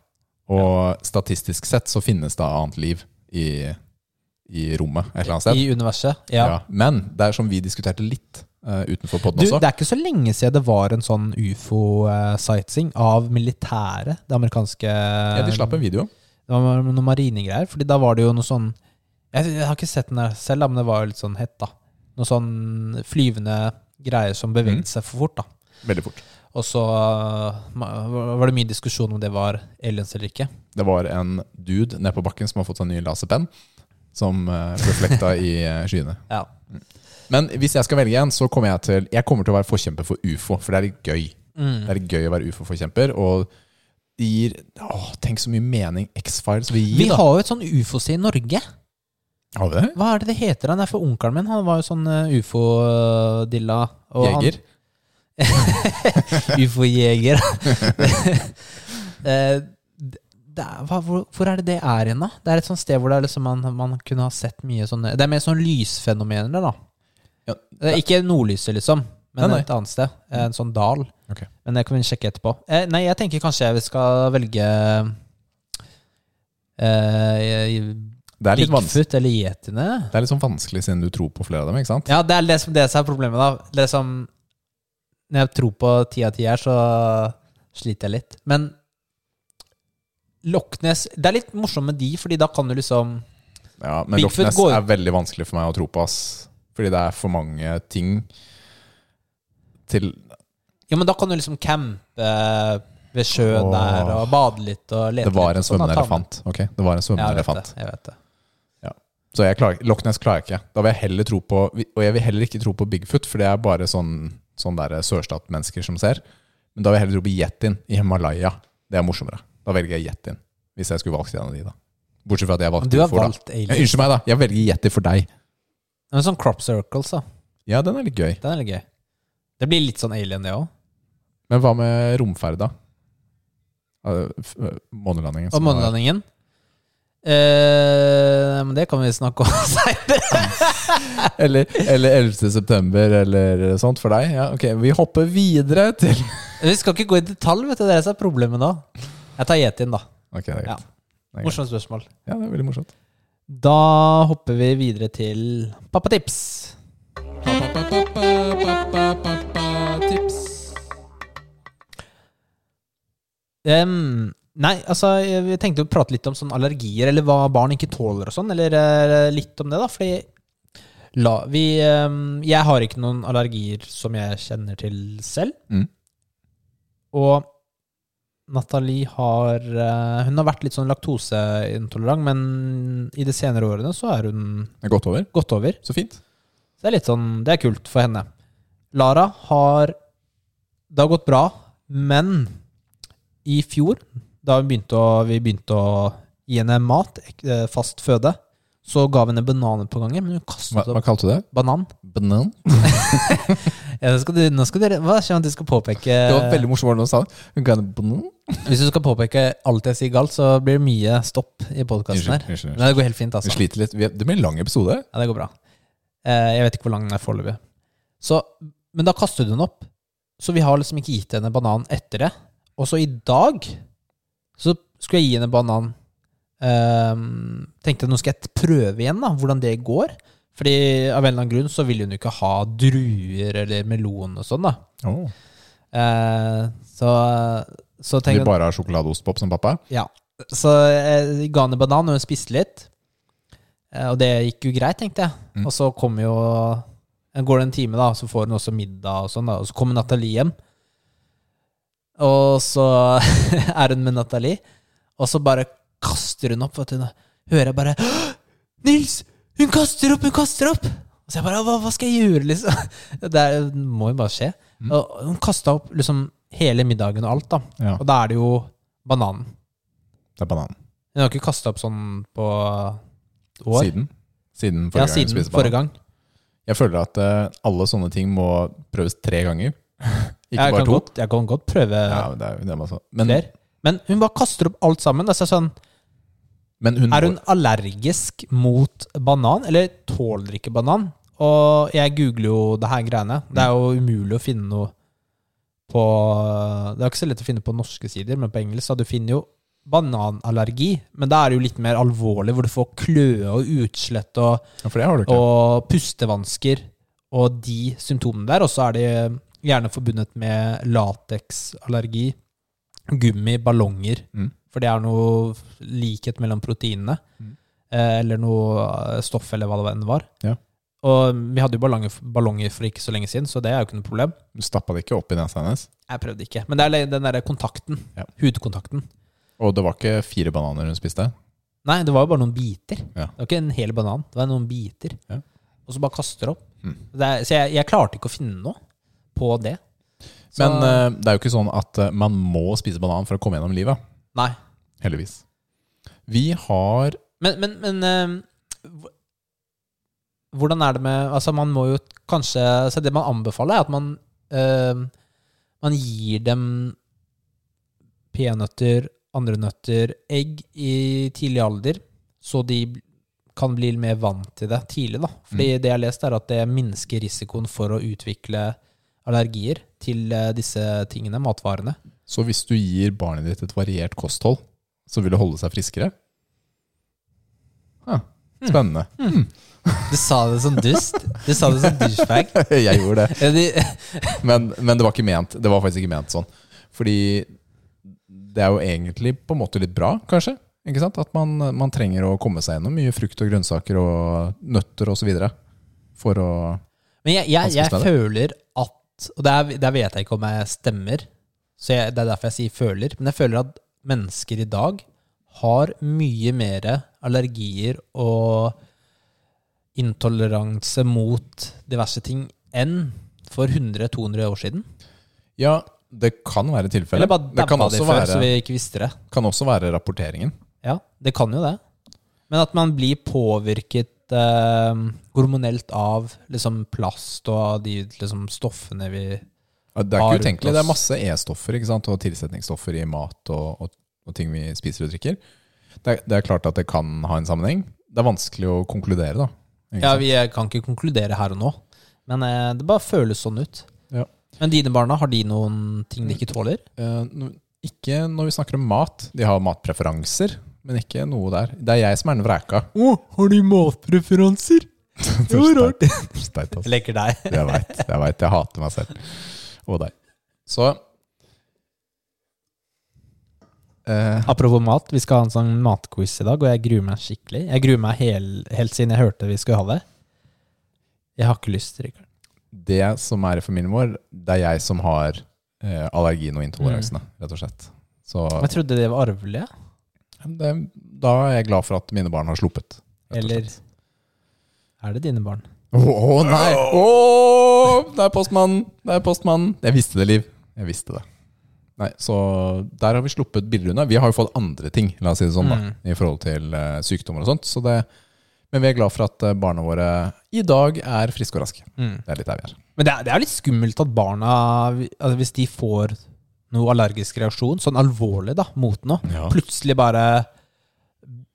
Og statistisk sett så finnes det annet liv i, i rommet et eller annet sted. I universet. Ja. Ja. Men det er som vi diskuterte litt eh, utenfor Du, podden også. det er ikke så lenge siden det var en sånn ufo-sightseeing av militæret. Det amerikanske ja, de slapp en video. Det var noen marinegreier. Fordi da var det jo noe sånn Jeg, jeg har ikke sett den der selv, da, men det var jo litt sånn hett, da. Noe sånn flyvende greier som Mm. beveget seg for fort, da. Veldig fort. Og så uh, var det mye diskusjon om det var aliens eller ikke. Det var en dude nede på bakken som har fått seg en ny laserpenn, som uh, reflekta i eh, skyene. Ja. Men hvis jeg skal velge en, så kommer jeg til Jeg kommer til å være forkjemper for ufo, for det er litt gøy. Mm. Det er litt gøy å være ufo-forkjemper, og det gir Åh, tenk så mye mening X-Files vil gi, Vi da. har jo et sånn ufo-sted i Norge. Har vi det? Hva er det det heter? Han er for onkelen min. Han var jo sånn eh, ufo-dilla. og han- Jeger? Ufo-jeger. [LAUGHS] Eh, det- det er- hva- hvor, hvor er det det er igjen, da? Det er et sånt sted hvor det er liksom man, man kunne ha sett mye sånne Det er mer sånn lysfenomener, da. Ja, det er ikke nordlyset, liksom, men Nei, nei. et annet sted. En sånn dal. Ok. Men det kan vi sjekke etterpå. Eh, nei, jeg tenker kanskje vi skal velge eh, Det er litt vanskelig. Bigfoot eller yetiene. Det er litt sånn vanskelig siden du tror på flere av dem, ikke sant? Ja, det er det som, det som er problemet, da. Det som, når jeg tror på ti av ti her, så sliter jeg litt. Men Loch Ness Det er litt morsomt med de, fordi da kan du liksom Ja, men Loch Bigfoot Ness går- er veldig vanskelig for meg å tro på, ass. Fordi det er for mange ting til Ja, men da kan du liksom campe ved sjøen Åh. der og bade litt og lete Det var litt en og sånn, da. svømmende Ta med- elefant. Ok, det var en Ja, svømmende jeg vet elefant. det, Jeg vet det. Så jeg klarer, Loch Ness klarer jeg ikke. Da vil jeg heller tro på Og jeg vil heller ikke tro på Bigfoot, for det er bare sånn, sånn der sørstatmennesker som ser. Men da vil jeg heller tro på yetin i Himalaya. Det er morsommere. Da velger jeg yetin. Hvis jeg skulle valgt en av de, da. Bortsett fra at jeg Men valgte Du har ufoer, da. valgt Ja, alien. unnskyld meg, da. Jeg velger yeti for deg. Men sånn crop circles, da. Ja, den er litt gøy. Den er litt gøy. Det blir litt sånn alien, det òg. Men hva med romferd, da? Eh, f- eh, Månelandingen. Og som var- månelandingen. Eh, men det kan vi snakke om seinere. [LAUGHS] Eller, eller 11. september, eller sånt for deg. Ja, ok, Vi hopper videre til [LAUGHS] Vi skal ikke gå i detalj, vet du. Det er det som er problemet nå. Jeg tar yetien, da. Ok, det er greit. Det er greit. Morsomt spørsmål. Ja, det er veldig morsomt. Da hopper vi videre til pappatips. Tips. Em, nei, altså, jeg vi tenkte å prate litt om sånne allergier, eller hva barn ikke tåler og sånn, eller eh, litt om det, da. Fordi la, vi, em, jeg har ikke noen allergier som jeg kjenner til selv. Mm. Og Nathalie har eh, Hun har vært litt sånn laktoseintolerant, men i de senere årene så er hun Det er godt over. gått over. Så fint. Så det er litt sånn, det er kult for henne. Lara har Det har gått bra, men i fjor, da vi begynte å, vi begynte å gi henne mat, ek- eh, fast føde, så ga vi henne bananer på gangen, men hun Hva, kastet hva opp kalte du det? banan. Banan? Ja, nå skal du, nå skal dere, hva skjer om du skal påpeke Det var veldig morsomt hvordan du sa det. Hun kan banan. Hvis du skal påpeke alt jeg sier galt, så blir det mye stopp i podkasten Unnskyld. her. unnskyld, unnskyld. Men det går helt fint, altså. Vi sliter litt. Vi- Det blir en lang episode. Ja, det går bra. Eh, jeg vet ikke hvor lang den er foreløpig. Så- Men da kastet hun opp. Så vi har liksom ikke gitt henne banan etter det. Og så i dag så skulle jeg gi henne banan. Ehm, tenkte nå skal jeg prøve igjen da, hvordan det går. Fordi av en eller annen grunn så vil hun jo ikke ha druer eller melon og sånn da. Oh. Eh, så, så tenkte Vi bare har sjokoladeostpop som pappa. ja. Så eh, jeg ga henne banan, og hun spiste litt. Eh, Og det gikk jo greit, tenkte jeg. Mm. Og så kom jo eh, Går det en time, da, så får hun også middag, og sånn da Og så kommer Nathalie hjem. Og så [LAUGHS] er hun med Nathalie, og så bare kaster hun opp. Vet du. Nå Hører jeg bare «Hå! Nils! Hun kaster opp! Hun kaster opp! Og så jeg bare Hva, hva skal jeg gjøre, liksom? [LAUGHS] Det er, må jo bare skje. Mm. Og hun kasta opp liksom hele middagen og alt, da. Ja. Og da er det jo bananen. Det er bananen. Hun har ikke kasta opp sånn på år. Siden. Siden ja, forrige gang vi siden spiste banan. forrige gang. Jeg føler at eh, alle sånne ting må prøves tre ganger. [LAUGHS] Ikke jeg, bare kan to. godt, jeg kan godt prøve Ja, men det er, jo- det er masse. Men, flere. Men hun bare kaster opp alt sammen. Altså sånn, men hun, er hun allergisk mot banan, eller tåler ikke banan? Og jeg googler jo det her greiene. Det er jo umulig å finne noe på Det er ikke så lett å finne på norske sider, men på engelsk så du finner jo bananallergi. Men da er det jo litt mer alvorlig, hvor du får kløe og utslett og Ja, For det har du ikke. og pustevansker og de symptomene der. Og så er de gjerne forbundet med lateksallergi, gummi, ballonger. Mm. For det er noe likhet mellom proteinene. Mm. eh, Eller noe eh, stoff, eller hva det enn var. Ja. Og vi hadde jo ballonger, ballonger for ikke så lenge siden, så det er jo ikke noe problem. Du stappa det ikke opp i nesa hennes. Jeg prøvde ikke. Men det er le- den derre kontakten. Ja. Hudkontakten. Og det var ikke fire bananer hun spiste. Nei, det var jo bare noen biter. Ja. Det var ikke en hel banan. Det var noen biter. Ja. Og så bare kaster det opp. Mm. Det er, så jeg, jeg klarte ikke å finne noe på det. Så- Men eh, det er jo ikke sånn at eh, man må spise banan for å komme gjennom livet. Nei. Heldigvis. Vi har Men, men, men eh, hv- Hvordan er det med Altså, man må jo kanskje Så det man anbefaler, er at man eh, Man gir dem peanøtter, andre nøtter, egg i tidlig alder, så de bl- kan bli mer vant til det tidlig, da. Fordi Mm. det jeg har lest, er at det minsker risikoen for å utvikle allergier til eh, disse tingene, matvarene. Så hvis du gir barnet ditt et variert kosthold, så vil det holde seg friskere? Ah, spennende. [LAUGHS] Du sa det som dust. Du sa det som douchebag. Jeg gjorde det. Ja, de- Men, men det var ikke ment. Det var faktisk ikke ment sånn. Fordi det er jo egentlig på en måte litt bra, kanskje. Ikke sant? At man, man trenger å komme seg gjennom mye frukt og grønnsaker og nøtter osv. For å Men jeg, jeg, jeg Vanskelig føler at Og der, der vet jeg ikke om jeg stemmer, så jeg, det er derfor jeg sier føler. Men jeg føler at mennesker i dag har mye mer allergier og intoleranse mot diverse ting enn for 100-200 år siden. Ja, det kan være tilfellet. Eller bare Det kan dabba de også før, så være, vi ikke visste det. kan også være rapporteringen. Ja, det kan jo det. Men at man blir påvirket eh, hormonelt av liksom plast og de liksom, stoffene vi Ja, Det er har ikke rundt utenkelig. Det er oss. masse E-stoffer ikke sant? og tilsetningsstoffer i mat og, og, og ting vi spiser og drikker. Det er, det er klart at det kan ha en sammenheng. Det er vanskelig å konkludere, da. Ikke Ja, sant? vi kan ikke konkludere her og nå, men eh, det bare føles sånn ut. Ja. Men dine barna, har de noen ting de ikke tåler? Eh, no- Ikke når vi snakker om mat. De har matpreferanser, men ikke noe der. Det er jeg som er den vræka. Å, har de [LAUGHS] matpreferanser? Det er var steit. Steit, altså. Jeg leker deg. [LAUGHS] Jeg veit. Jeg vet, jeg hater meg selv. Og deg. Så eh, Apropos mat, vi skal ha en sånn matquiz i dag, og jeg gruer meg skikkelig. Jeg gruer meg hel, helt siden jeg hørte vi skulle ha det. Jeg har ikke lyst, Rikard. det som er i familien vår, det er jeg som har eh, allergien og intoleransene, rett og slett. Så Jeg trodde det var arvelig, ja. det, da er jeg glad for at mine barn har sluppet. rett og eller slett. er det dine barn? Å å, nei! Å, det er postmannen! Det er postmannen! Jeg visste det, Liv. Jeg visste det. Nei, Så der har vi sluppet bilder unna. Vi har jo fått andre ting, la oss si det sånn, da, i forhold til eh, sykdommer og sånt. Så det, men vi er glad for at eh, barna våre i dag er friske og raske. Det er litt der vi er. Men det er, det er litt skummelt at barna, altså hvis de får noe allergisk reaksjon, sånn alvorlig da, mot noe, Ja. plutselig bare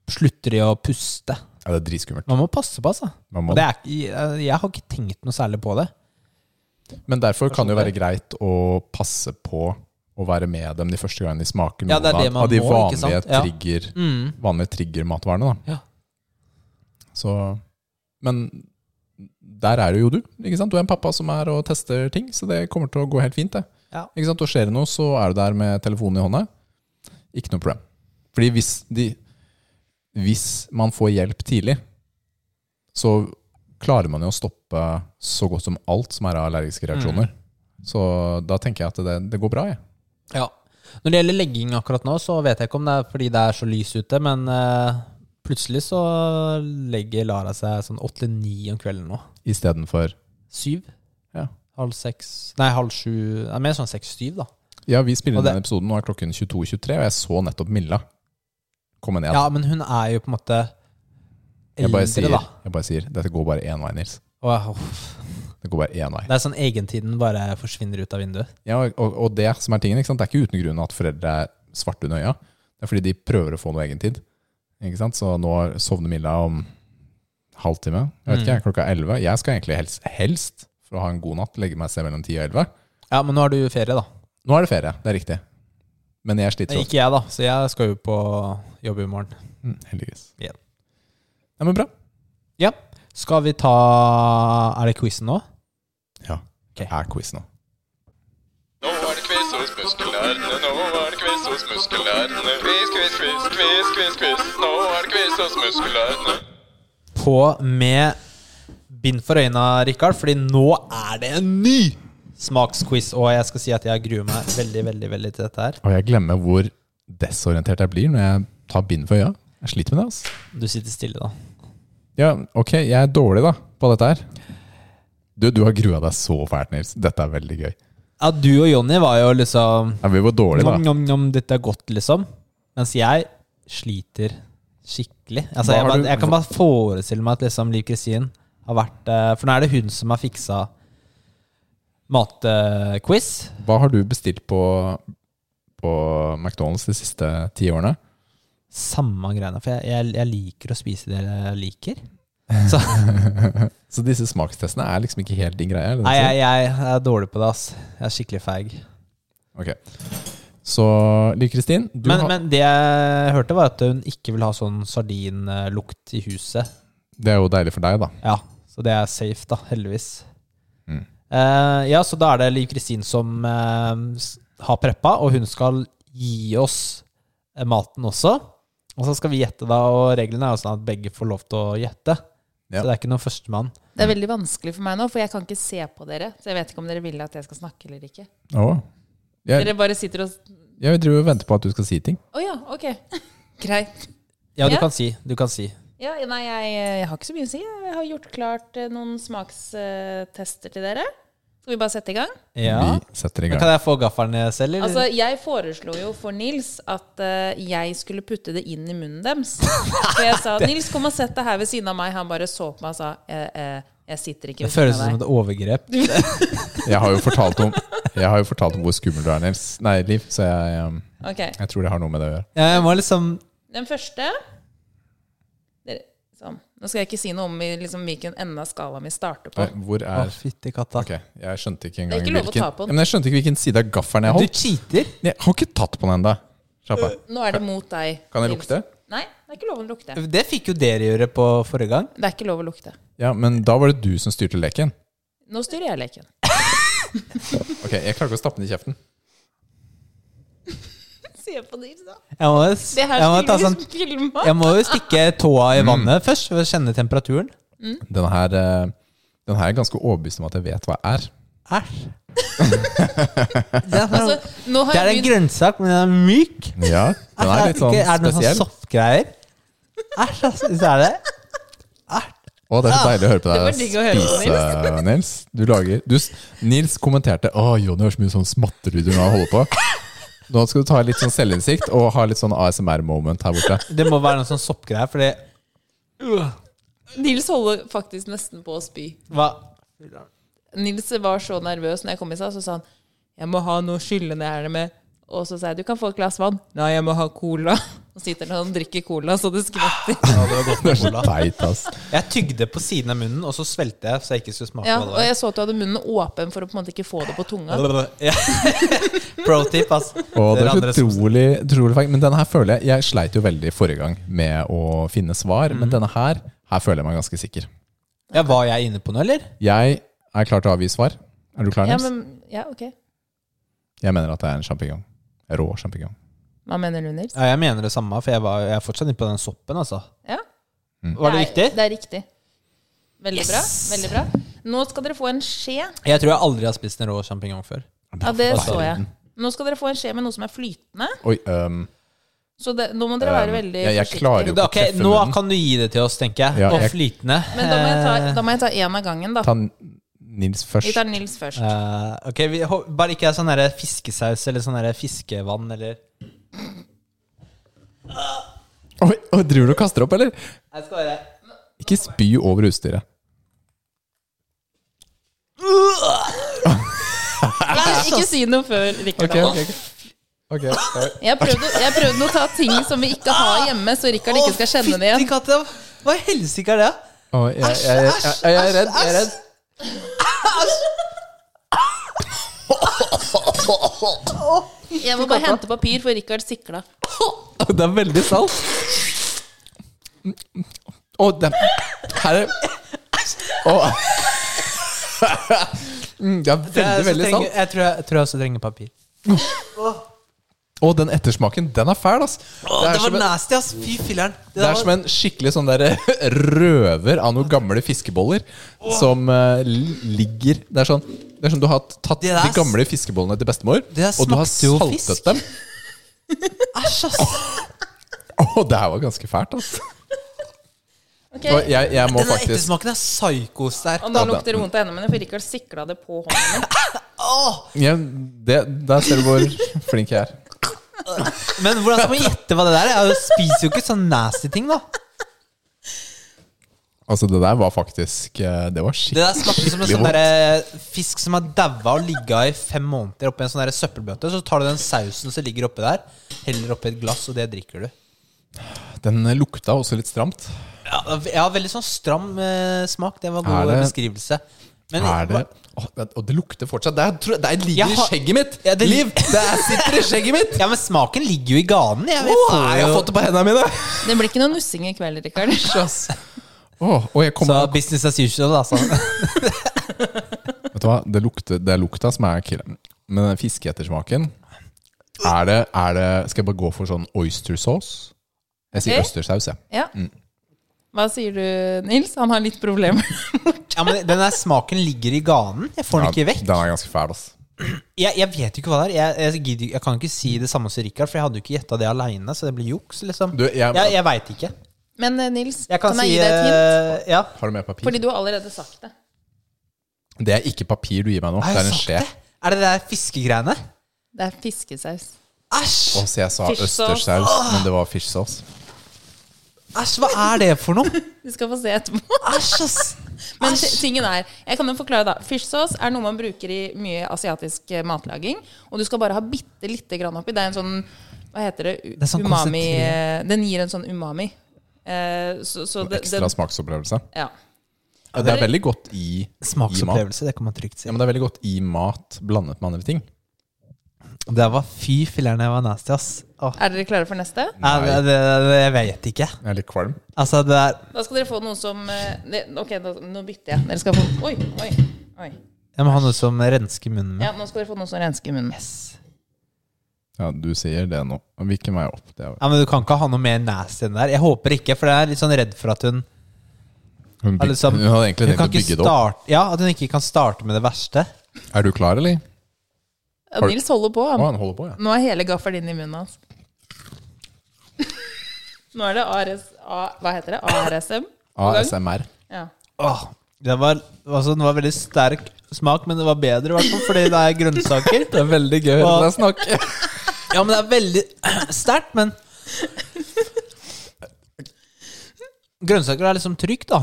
slutter de å puste. Ja, det er dritskummelt. Man må passe på, altså. Man må Og det er, ikke- jeg, jeg har ikke tenkt noe særlig på det. Men derfor sånn kan det jo være greit å passe på å være med dem de første gangene de smaker noen Ja, det er det av, man av de må, ikke vanlige, sant? Ja. trigger, vanlige triggermatvarene. Da. Ja. Så, men der er det jo du. Ikke sant? Du er en pappa som er og tester ting, så det kommer til å gå helt fint. Det. Ja. Ikke sant? Og skjer det noe, så er du der med telefonen i hånda. Ikke noe problem. Fordi hvis, de, hvis man får hjelp tidlig, så klarer man jo å stoppe så godt som alt som er av allergiske reaksjoner. Så da tenker jeg at det, det går bra, jeg. Ja. Når det gjelder legging akkurat nå, så vet jeg ikke om det er fordi det er så lys ute, men eh, plutselig så legger Lara seg sånn åtte-ni om kvelden nå. Istedenfor Syv? Ja. Halv seks Nei, halv sju Nei, Mer sånn seks-syv, da. Ja, vi spiller Og inn det- denne episoden, nå er klokken 22.23, og jeg så nettopp Milla komme ned. Ja. men hun er jo på en måte jeg, eldre, bare sier, da. jeg bare sier dette går bare én vei, Nils. Og, uff. Det går bare én vei. det er sånn egentiden bare forsvinner ut av vinduet. Ja, og, og det som er tingen, ikke sant? det er ikke uten grunn at foreldre er svarte under øya. Det er fordi de prøver å få noe egentid. Ikke sant? Så nå sovner Milla om halvtime. Jeg vet Mm. ikke, klokka er 11. Jeg skal egentlig helst, helst, for å ha en god natt, legge meg et sted mellom 10 og 11. Ja, men nå har du jo ferie, da. Nå er det ferie, det er riktig. Men jeg sliter Nei, sånn. ikke jeg, da. Så jeg skal jo på jobb i morgen. Mm, heldigvis. Ja. Nei, men bra. Ja. Skal vi ta Er det quizen nå? Det er quiz nå. Nå er det quiz hos muskelnerdene, nå er det quiz hos muskelnerdene. Quiz, quiz, quiz, quiz, quiz, quiz. Nå er det quiz hos muskelnerdene. på med bind for øynene, Rikard, fordi nå er det en ny smaksquiz. Og jeg skal si at jeg gruer meg veldig, veldig veldig til dette her. Og jeg glemmer hvor desorientert jeg blir når jeg tar bind for øya. Jeg sliter med det. altså. Du sitter stille, da. Ja, ok, jeg er dårlig da på dette her. Du, du har grua deg så fælt, Nils. Dette er veldig gøy. Ja, du og Jonny var jo liksom Ja, vi var dårlige, Nom, da. nom, nom, dette er godt, liksom. Mens jeg sliter skikkelig. Altså, Hva jeg, har bare, du- jeg kan bare forestille meg at liksom Liv Kristin har vært eh, For nå er det hun som har fiksa matquiz. Hva har du bestilt på, på McDonald's de siste ti årene? Samme greiene. For jeg, jeg, jeg liker å spise det jeg liker. [LAUGHS] Så [LAUGHS] Så disse smakstestene er liksom ikke helt din greie? sånn? er det det du Nei, sier? jeg, jeg er dårlig på det, ass. Jeg er skikkelig feig. Så Liv Kristin, du Men, har- men det jeg hørte, var at hun ikke vil ha sånn sardinlukt i huset. det er jo deilig for deg, da. Ja, så det er safe, da. Heldigvis. Mm. Eh, ja, så da er det Liv Kristin som eh, s- har preppa, og hun skal gi oss eh, maten også. Og så skal vi gjette, da, og reglene er jo sånn at begge får lov til å gjette. Ja. Så det er ikke noen førstemann. Det er veldig vanskelig for meg nå, for jeg kan ikke se på dere. Så jeg vet ikke om dere vil at jeg skal snakke eller ikke. Å. Jeg, Dere bare sitter og Å jeg driver og venter på at du skal si ting. ja, [LAUGHS] ok. Greit. Ja, du Ja. kan si. Du kan si. Ja, nei, jeg, jeg har ikke så mye å si. Jeg har gjort klart eh, noen smakstester til dere. Skal vi bare sette i gang? Ja. Vi setter i Men gang. kan jeg få gaffelen selv, eller? Altså, jeg foreslo jo for Nils at eh, jeg skulle putte det inn i munnen deres. [LAUGHS] For jeg sa 'Nils, kom og sett deg her ved siden av meg'. Han bare så på meg og sa eh, eh, 'Jeg sitter ikke det ved siden føles av deg'. som et overgrep. Jeg har jo fortalt om, jeg har jo fortalt om hvor skummel du er, Nils. Nei, Liv, så jeg, um, Ok. jeg tror det har noe med det å gjøre. Ja, jeg må liksom Den første Dere, sånn. Nå skal jeg ikke si noe om i, liksom, hvilken ende av skalaen vi starter på. Nei, Hvor Å, er fytti katta. Ok, jeg skjønte ikke Det engang er ikke lov å hvilken ta på den. Ja, Men jeg skjønte ikke hvilken side av gaffelen jeg Du Eh, holdt. cheater! Jeg har ikke tatt på den ennå. Slapp av. Nå er det mot deg. Kan jeg Nils. lukte? Nei, det er ikke lov å lukte. Det fikk jo dere gjøre på forrige gang. Det er ikke lov å lukte. Ja, men da var det du som styrte leken. Nå styrer jeg [LAUGHS] leken. Ok, Jeg klarer ikke å stappe den i kjeften. Se på Nils, da. Jeg må, Det her jeg må, ta skulle sånn, vi filma. jeg må jo stikke tåa i Mm. vannet først for å kjenne temperaturen. Den her, eh, den her er ganske overbevist om at jeg vet hva er. Æsj. Det er sånn- Altså, nå har det er jeg en begynt grønnsak, men den er myk. Ja, den er litt sånn Ikke- er det noen spesiell. sånn soppgreier? Æsj, altså. Så er det Å, det er så deilig å høre på Ah, var deg digg å høre på, [LAUGHS] spise, Nils. Du lager du, s- Nils kommenterte Å, Jonny har så mye sånn smatteruder når han holder på. Nå skal du ta litt sånn selvinnsikt og ha litt sånn ASMR-moment her borte. Det må være noen sånn soppgreier, for det Øh. Nils holder faktisk nesten på å spy. Hva? Nils var så nervøs når jeg kom i stad, så sa han 'Jeg må ha noe skyllende her med'. Og så sa jeg 'Du kan få et glass vann'. 'Nei, jeg må ha cola'. [LAUGHS] Og sitter han og drikker cola så det skvetter. Ja, det var godt Det med er så cola. teit, ass. Jeg tygde på siden av munnen, og så svelte jeg så jeg ikke skulle smake Ja, på det. og jeg så at du hadde munnen åpen for å på en måte ikke få det på tunga. Ja. [LAUGHS] Pro tip, ass. Og det Dere er andre så som- utrolig, utrolig feil. Men denne her føler jeg Jeg sleit jo veldig forrige gang med å finne svar, Mhm. men denne her Her føler jeg meg ganske sikker. Ja, var jeg inne på noe, eller? Jeg er klar til å avgi svar. Er du klar, Ja, Nils? men, ja, ok. Jeg mener at det er en sjampinjong. Rå sjampinjong. Hva mener du, Nils? Ja, jeg mener det samme, for jeg, var, jeg er fortsatt inne på den soppen, altså. Ja. Mm. Var det riktig? er- Det er riktig. Veldig bra. veldig bra. Nå skal dere få en skje. Jeg tror jeg aldri har spist en rå sjampinjong før. Ja, det så jeg. verden. Nå skal dere få en skje med noe som er flytende. Oi, øhm, Så det, nå må dere øhm, være veldig jeg, jeg forsiktige. klarer jo ikke å Ok, treffe nå munnen. kan du gi det til oss, tenker jeg. Ja, og jeg- flytende. Men da må jeg ta- da må jeg ta én av gangen, da. Ta Nils først. Vi tar Nils først. Eh, ok, vi, hå- Bare ikke sånn der fiskesaus eller sånn der fiskevann eller Oi, oi, driver du og kaster opp, eller? Jeg skal bare Ikke spy over utstyret. Ikke, ikke si noe før, Rikard. Jeg, prøvde, jeg prøvde å ta ting som vi ikke har hjemme, så Rikard ikke skal kjenne det igjen. katta! Hva i helsike er det? Oi, jeg, jeg, jeg, jeg, jeg er redd. Jeg er redd. Jeg må bare hente papir, for Rikard sikla. Det er veldig salt. Å, det Her er Å. Mm, Det er veldig, veldig trenger, salt. jeg, tror jeg, jeg tror jeg også trenger papir. Å, den ettersmaken, den er fæl, ass. Å, Det det er som var en, nasty, ass! Fy filleren. det er som en skikkelig sånn der røver av noen gamle fiskeboller som eh, li- ligger Det er sånn det er som du har tatt de Det der s- gamle fiskebollene til bestemor, der og du har smakte jo saltet fisk. dem. [LAUGHS] Æsj, ass! Å, det her var ganske fælt, ass. Ok, Og jeg, jeg må Den der faktisk ettersmaken er psykosterk. Og nå lukter det vondt av hendene mine, for Rikard sikla det på hånden min. jeg, det, Der ser du hvor flink jeg er. Men hvordan skal man gjette hva det der er? Jeg spiser jo ikke sånn nasty ting, da. Altså, det der var faktisk eh, Det var Det skikkelig der smakte som en sånn der fisk som har daua og ligga i fem måneder oppi en sånn der søppelbøtte. Så tar du den sausen som ligger oppi der, heller oppi et glass, og det drikker du. Den lukta også litt stramt. Ja, jeg har veldig sånn stram eh, smak. Det var en Er god det- beskrivelse. Men er det Åh, det- Og det lukter fortsatt. Det, er, tror jeg- det er ligger Jeg i har- skjegget mitt! Ja, det- Liv! Det er, sitter i skjegget mitt! Ja, men smaken ligger jo i ganen. Jeg, jeg Åh, får jeg har jo- fått det på hendene mine! Det blir ikke noe nussing i kveld, [LAUGHS] Rikard. Åh, og jeg Så kommer, business as usual, altså. Vet du hva, det, lukter, det er lukta som er killen. Men den fiskeettersmaken er det, er det Skal jeg bare gå for sånn oyster sauce? Jeg sier Ok. østersaus, jeg. Ja. Mm. Hva sier du, Nils? Han har litt problemer. Ja, men den der smaken ligger i ganen. Jeg får den ikke vekk. den er ganske fæl, ass. Jeg, jeg vet jo ikke hva det er. Jeg, jeg, gidder, ikke- jeg kan ikke si det samme som Richard, for jeg hadde jo ikke gjetta det aleine, så det blir juks, liksom. Du, jeg- jeg jeg veit ikke. Men eh, Nils, Jeg kan, si jeg gi deg et hint? eh, Ja. Har du mer papir? Fordi du har allerede sagt det. Det er ikke papir du gir meg nå. Har Det jeg er en sagt skje. det? Er det det der fiskegreiene? Det er fiskesaus. Æsj! Og så jeg sa Fish sauce. østersaus, men det var fish sauce. Æsj, hva er det for noe? Du skal få se etterpå. Æsj, ass! Men ti- tingen er, jeg kan jo forklare da Fish sauce er noe man bruker i mye asiatisk eh, matlaging. Og du skal bare ha bitte lite grann oppi. Det er en sånn Hva heter det? U- er sånn umami konsentrert. eh, Den gir en sånn umami. Eh, så, så Sånn det, Ekstra den, smaksopplevelse. ja. Ja, det er veldig godt i, i mat. Smaksopplevelse, det kan man trygt si. Ja, men det er veldig godt i mat blandet med andre ting. Det var fy filler'n, jeg var nasty, ass. Åh. Er dere klare for neste? Nei, Nei. det, det, det, jeg vet ikke. Jeg er litt kvalm. Altså, det er Da skal dere få noe som eh, det, Ok, da, nå bytter jeg. Dere skal få Oi, oi, oi. Jeg må ha noe som rensker munnen min. Ja, nå skal dere få noe som rensker munnen. Ja, du sier det nå. Hvilken vei opp? Det er, Ja, men Du kan ikke ha noe mer nasty enn det der. Jeg håper ikke, for jeg er litt sånn redd for at hun hun, er byg, liksom, hun hadde egentlig hun tenkt kan å ikke bygge det opp. starte, Ja, At hun ikke kan starte med det verste. Er du klar, eller? Ja, Nils holder på. Å, Han. han holder på, ja. Nå er hele gaffelen inn i munnen hans. [LAUGHS] Nå er det ARS, A, hva heter det? ARSM? på gang. ASMR. Ja. Åh, det var, altså, den var veldig sterk smak, men det var bedre, i hvert fall fordi det er grønnsaker. Det er veldig gøy å høre deg snakke. Ja, men det er veldig [CLEARS THROAT] sterkt, men Grønnsaker er liksom trygt, da.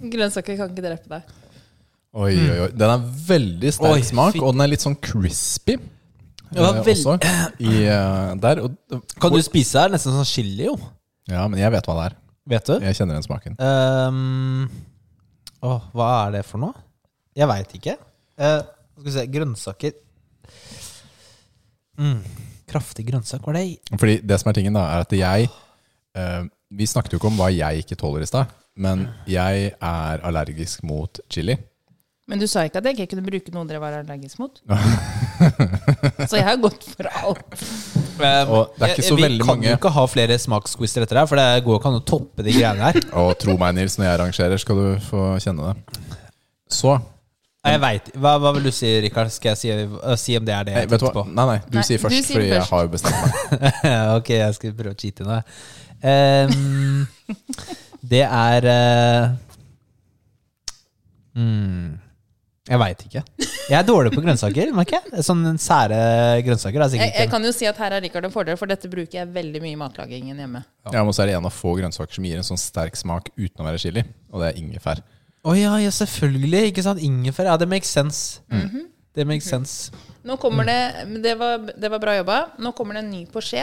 Grønnsaker kan ikke drepe deg. Oi, oi, oi. Den er veldig sterk Mm. Oi, smak, fy- og den er litt sånn crispy. Det var eh, veld- [CLEARS THROAT] Også i, eh, der. Og, Kan du spise her? Nesten sånn chili, jo. ja, men jeg vet hva det er. Vet du? Jeg kjenner den smaken. Ehm, åh, hva er det for noe? Jeg veit ikke. Eh, skal vi se Grønnsaker. Mm, kraftig grønnsak var det. Fordi det som er tingen da, er at jeg eh, Vi snakket jo ikke om hva jeg ikke tåler i stad, men jeg er allergisk mot chili. Men du sa ikke at jeg ikke kunne bruke noe dere var allergisk mot. Så jeg har gått for alt. Og det er ikke så Ehm, vi veldig kan mange- jo ikke ha flere smaksquizer etter det her, for det går jo ikke an å toppe [LAUGHS] de greiene her. Og tro meg, Nils, når jeg rangerer, skal du få kjenne det. Så Nei, jeg vet. Hva, hva vil du si, Rikard? Skal jeg si, øh, si om det er det Nei, jeg vet du tenkte hva? på? Nei, nei, du Nei, sier du først, sier fordi jeg først. har jo bestemt meg. [LAUGHS] ok, jeg skal prøve å cheate nå. Ehm, det er eh, mm, Jeg veit ikke. Jeg er dårlig på grønnsaker, merker jeg. Sånne sære grønnsaker. Er Jeg, sikkert jeg ikke. kan jo si at her er Rikard en fordel, for dette bruker jeg veldig mye i matlagingen hjemme. Ja, men så er det en av få grønnsaker som gir en sånn sterk smak uten å være chili, og det er ingefær. Å ja, ja, selvfølgelig. Ikke sant? Ingefær. Ja, det makes sense. Mhm. Det makes sense. Nå kommer det men Det var, det var bra jobba. Nå kommer det en ny på skje.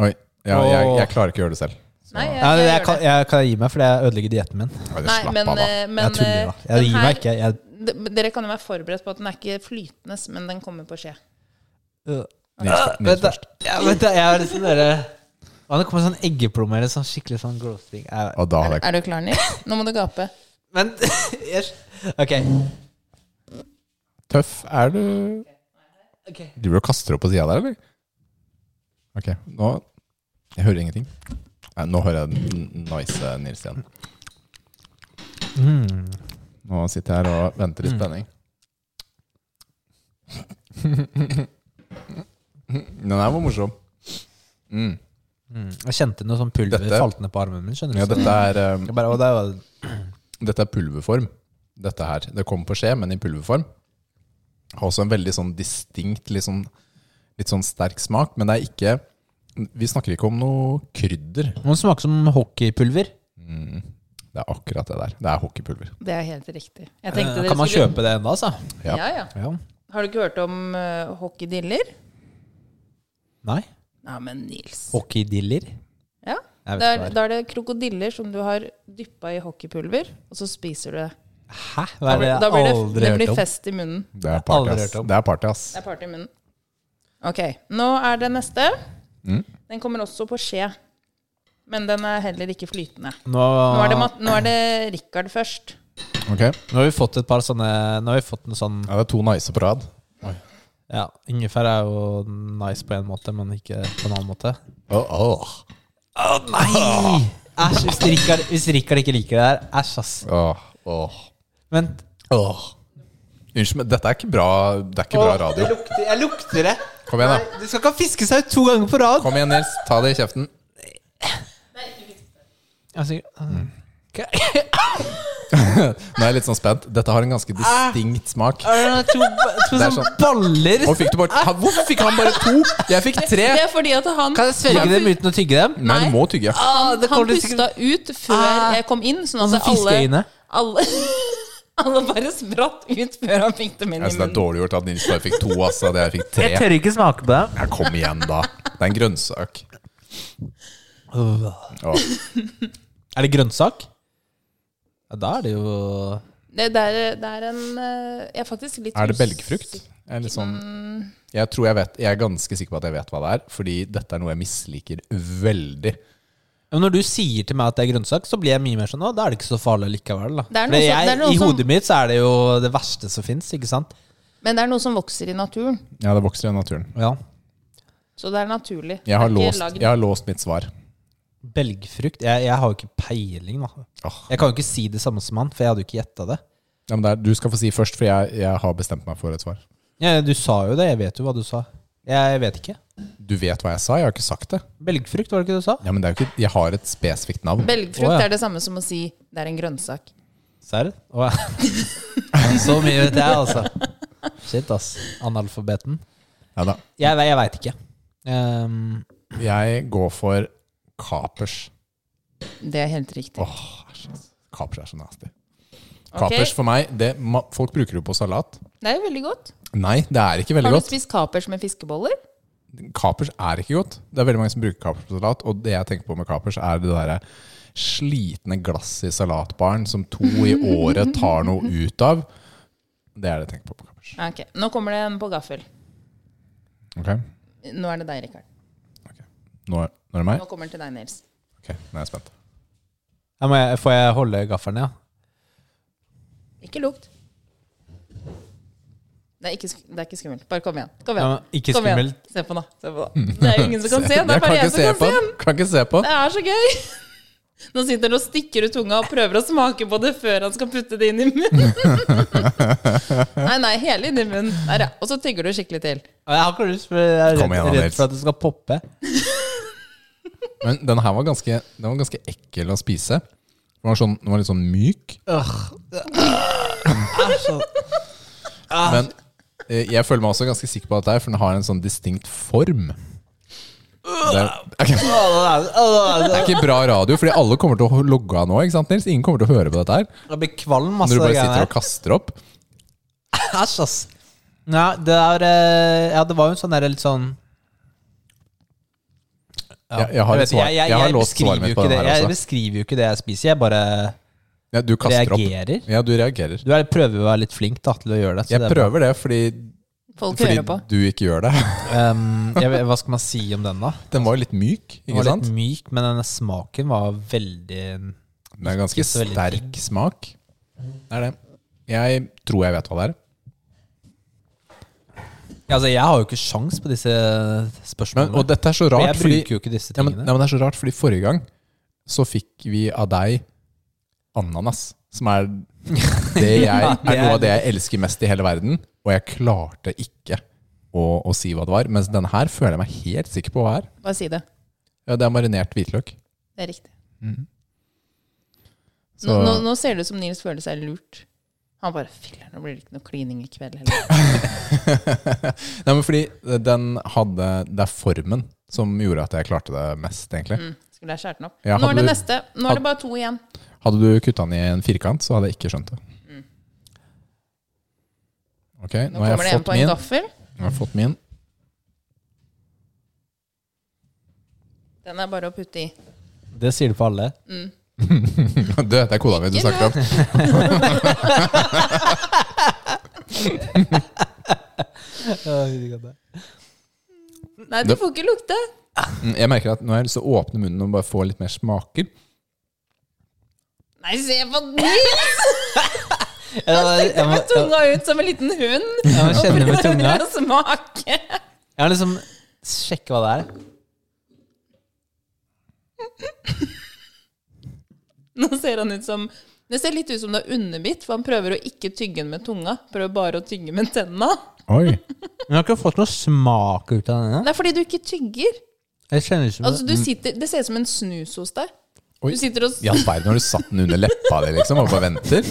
Oi, ja, jeg, jeg klarer ikke å gjøre det selv. Nei, jeg, Ja, jeg, jeg, gjør kan, det. jeg kan gi meg, for det ødelegger dietten min. Ja, det Nei, slapp men, av, da. eh, men jeg tuller, da. eh, Jeg den gir her- meg ikke. Jeg, d- Dere kan jo være forberedt på at den er ikke flytende, men den kommer på skje. øh, Nils, Nils Vent, da. først. Ja, vent da. Jeg har liksom dere Å, det kommer sånn eggeplomme eller sånn skikkelig sånn gross ting. Jeg- Og da hadde jeg Er du klar, Nils? [LAUGHS] Nå må du gape. Men [LAUGHS] jeg- Ok. Tøff er du Ok. Driver du og kaster opp på sida der, eller? Ok, nå Jeg hører ingenting. Nei, nå hører jeg den n- nice Nils igjen. Nå sitter jeg her og venter i spenning. [LAUGHS] Den her var morsom. Mm. Jeg kjente noe sånn pulver Dette- falt ned på armen min. skjønner du? Ja, Så dette er, jeg eh, bare, å, det var, dette er pulverform. Dette her. Det kommer på skje, men i pulverform. Har også en veldig sånn distinkt, litt sånn, litt sånn sterk smak, men det er ikke Vi snakker ikke om noe krydder. den smaker som hockeypulver. Det er akkurat det der. Det er hockeypulver. Det er helt riktig. Jeg tenkte Eh, dere Kan man skulle- kjøpe det ennå, altså? Ja. Ja, ja. Ja. Har du ikke hørt om eh, hockeydiller? Nei? Nei, men Nils. Hockeydiller? Ja. Jeg vet Da hva er, det da er det krokodiller som du har dyppa i hockeypulver, og så spiser du det. Hæ? Hva er Da det blir, da jeg blir det, aldri det hørt blir om? fest i munnen. Det er Aldri party, hørt ass. om. Det er party, ass. Det er part i munnen. Ok, nå er det neste. Mm. Den kommer også på skje. Men den er heller ikke flytende. Nå, Nå Ah. er det, Mat- nå er det Rikard først. Ok, ja, nå har vi fått et par sånne Nå har vi fått en sånn Det er to nice på rad. Ja, ingefær er jo nice på en måte, men ikke på en annen måte. Åh, åh. Nei! Æsj, hvis Rikard, hvis Rikard ikke liker det der, æsj, ass. Åh, åh, Vent. åh. Unnskyld, men dette er ikke bra, det er ikke bra Åh, jeg radio. lukter- Jeg lukter det. Kom igjen, da. Du skal ikke ha fiskesaus to ganger på rad. Kom igjen, Nils. Ta det i kjeften. Altså, Nå er jeg litt sånn spent. Dette har en ganske distinkt smak. [LAUGHS] er det to, to Det er sånne sånn- baller? Hvorfor fikk, du bare, ha, hvorfor fikk han bare to? Jeg fikk tre. Det er fordi at han Ah, Kan jeg svelge dem uten å tygge dem? Nei, Ah, du må tygge. Han, det han kommer til å- pusta ut før Ah. jeg kom inn, sånn at Sånn alle, fiskeøyne. alle [LAUGHS] Alle bare spratt ut før han fikk dem inn Jeg i synes det er munnen. dårlig gjort at Nils bare fikk to, ass. At jeg fikk tre. tør ikke smake på dem. Ja, kom igjen, da. Det er en grønnsak. Åh. Er det grønnsak? Ja, da er det jo Det, det, er, det er en eh, Jeg er faktisk litt Er det us- belgfrukt? Jeg er, litt sånn, jeg, tror jeg, vet, jeg er ganske sikker på at jeg vet hva det er, fordi dette er noe jeg misliker veldig. Men Når du sier til meg at det er grønnsak, så blir jeg mye mer sånn Å, da er det ikke så farlig likevel, da. Det er noe Fordi som- det er jeg, noe I som- hodet mitt så er det jo det verste som fins, ikke sant? Men det er noe som vokser i naturen, Ja, det vokser i naturen. Ja. så det er naturlig. Jeg har, Det er ikke låst, lagd- jeg har låst mitt svar. Belgfrukt Jeg, jeg har jo ikke peiling, da. Åh. Jeg kan jo ikke si det samme som han, for jeg hadde jo ikke gjetta det. Ja, men det er, du skal få si først, for jeg, jeg har bestemt meg for et svar. Ja, du sa jo det, jeg vet jo hva du sa. Jeg vet ikke. Du vet hva jeg sa, jeg har ikke sagt det. Belgfrukt, var det ikke det du sa? Ja, men det er jo ikke, Jeg har et spesifikt navn. Belgfrukt Å, ja. er det samme som å si det er en grønnsak. Serr? Å, ja. [LAUGHS] Så mye vet jeg, altså. Shit, ass. Analfabeten. Ja, da. Jeg, ve- jeg veit ikke. Ehm, Jeg går for kapers. Det er helt riktig. Åh, æsj, ass. Kapers er så nasty. Kapers Ok. for meg det, ma, Folk bruker det på salat. Det er jo veldig godt. Nei, det er ikke veldig Har du godt. spist kapers med fiskeboller? kapers er ikke godt. Det er veldig mange som bruker kapers på salat, og det jeg tenker på med kapers, er det derre slitne glasset i salatbaren som to i året tar noe ut av. Det er det jeg tenker på med kapers. Ja, Ok, Nå kommer det en på gaffel. Ok, Nå er det deg, Rikard. Nå, nå er det meg? Nå kommer den til deg, Nils. Ok, nå er jeg spent. ja, må jeg, får jeg holde gaffelen, ja? Ikke lukt. Det er ikke, sk- det er ikke skummelt. Bare kom igjen. Kom ja igjen. men ikke Kom igjen. skummelt. [LAUGHS] Se på den, da. Se på den. Det er jo ingen som kan se. Det Jeg er bare kan jeg [LAUGHS] ikke se på som kan se den. den. Kan ikke se på den. Det er så gøy! [LAUGHS] Nå sitter han og stikker ut tunga og prøver å smake på det før han skal putte det inn i munnen. nei, nei, hele inn i munnen. Der, ja. Og så tygger du skikkelig til. Ja, Jeg har ikke lyst, for jeg er Kom igjen, redd, Nils. redd for at det skal poppe. Men den her var ganske, den var ganske ekkel å spise. Den var, sånn, den var litt sånn myk. Øh. [LAUGHS] Æsj. altså. Men eh, jeg føler meg også ganske sikker på at det er, for den har en sånn distinkt form. Det er, det Åh, det er- åh, er det er- ikke bra radio, fordi alle kommer til å logge av nå. ikke sant, Nils? Ingen kommer til å høre på dette her. Jeg blir kvalm, masse Når du bare greier sitter her. og kaster opp. Æsj, ass. Ja, det er eh, Ja, det var jo en sånn derre litt sånn Jeg, jeg har, et vet, svar. Jeg, har låst beskriver svaret mitt jo på ikke den det- her Jeg også. beskriver jo ikke det jeg spiser, jeg bare Ja, du kaster opp. reagerer. Ja, du reagerer. Du er, prøver jo å være litt flink da, til å gjøre det. så Jeg det er bra. prøver det fordi, Folk fordi hører på. du ikke gjør det. [LAUGHS] Ehm, jeg, vet- hva skal man si om den, da? Den var jo litt myk, Den ikke var sant? litt myk, men denne smaken var veldig Den er ganske ikke så veldig sterk smak. Det er det. Jeg tror jeg vet hva det er. Altså, Jeg har jo ikke sjans på disse Men, spørsmålene. og dette er så For rart, jeg fordi bruker jo ikke disse Ja, men, tingene. ja, men det er så rart, fordi forrige gang så fikk vi av deg ananas, som er det jeg Ja, det er noe er- av det jeg elsker mest i hele verden, og jeg klarte ikke å, å si hva det var. Mens denne her føler jeg meg helt sikker på hva er. Bare si det. Ja, det er marinert hvitløk. Det er riktig. Så Nå, nå, nå ser det ut som Nils føler seg lurt. Han bare Filler'n, nå blir det ikke noe klining i kveld [LAUGHS] heller. [LAUGHS] Nei, men fordi den hadde Det er formen som gjorde at jeg klarte det mest, egentlig. Mm, skulle jeg skjært den opp? Ja, nå hadde er det du- neste. Nå er det bare to igjen. Hadde du kutta den i en firkant, så hadde jeg ikke skjønt det. Ok, nå Mm. Nå har kommer det jeg en fått på en min. gaffel. Nå har jeg fått min. [LAUGHS] Den er bare å putte i. Det sier du på [LAUGHS] alle. Du, det er koda mi du snakker om. Nei, Nei, du Det- får ikke lukte. Mm, Jeg merker at nå har jeg lyst til å åpne munnen og bare få litt mer smaker. Nei, se på [LAUGHS] Nils! jeg, må, Med jeg, tunga ut som en liten hund. jeg må kjenne med tunga. Prøver å smake. Jeg må liksom sjekke hva det er. Nå ser han ut som Det ser litt ut som det er underbitt, for han prøver å ikke tygge den med tunga. Prøver bare å tygge med tenna. Oi. Men jeg har ikke fått noe smak ut av denne. Det er fordi du ikke tygger. Jeg kjenner ikke Altså, du Mm. sitter, det ser ut som en snus hos deg. Oi. Du sitter og I all verden, har du satt den under leppa di liksom, og bare venter?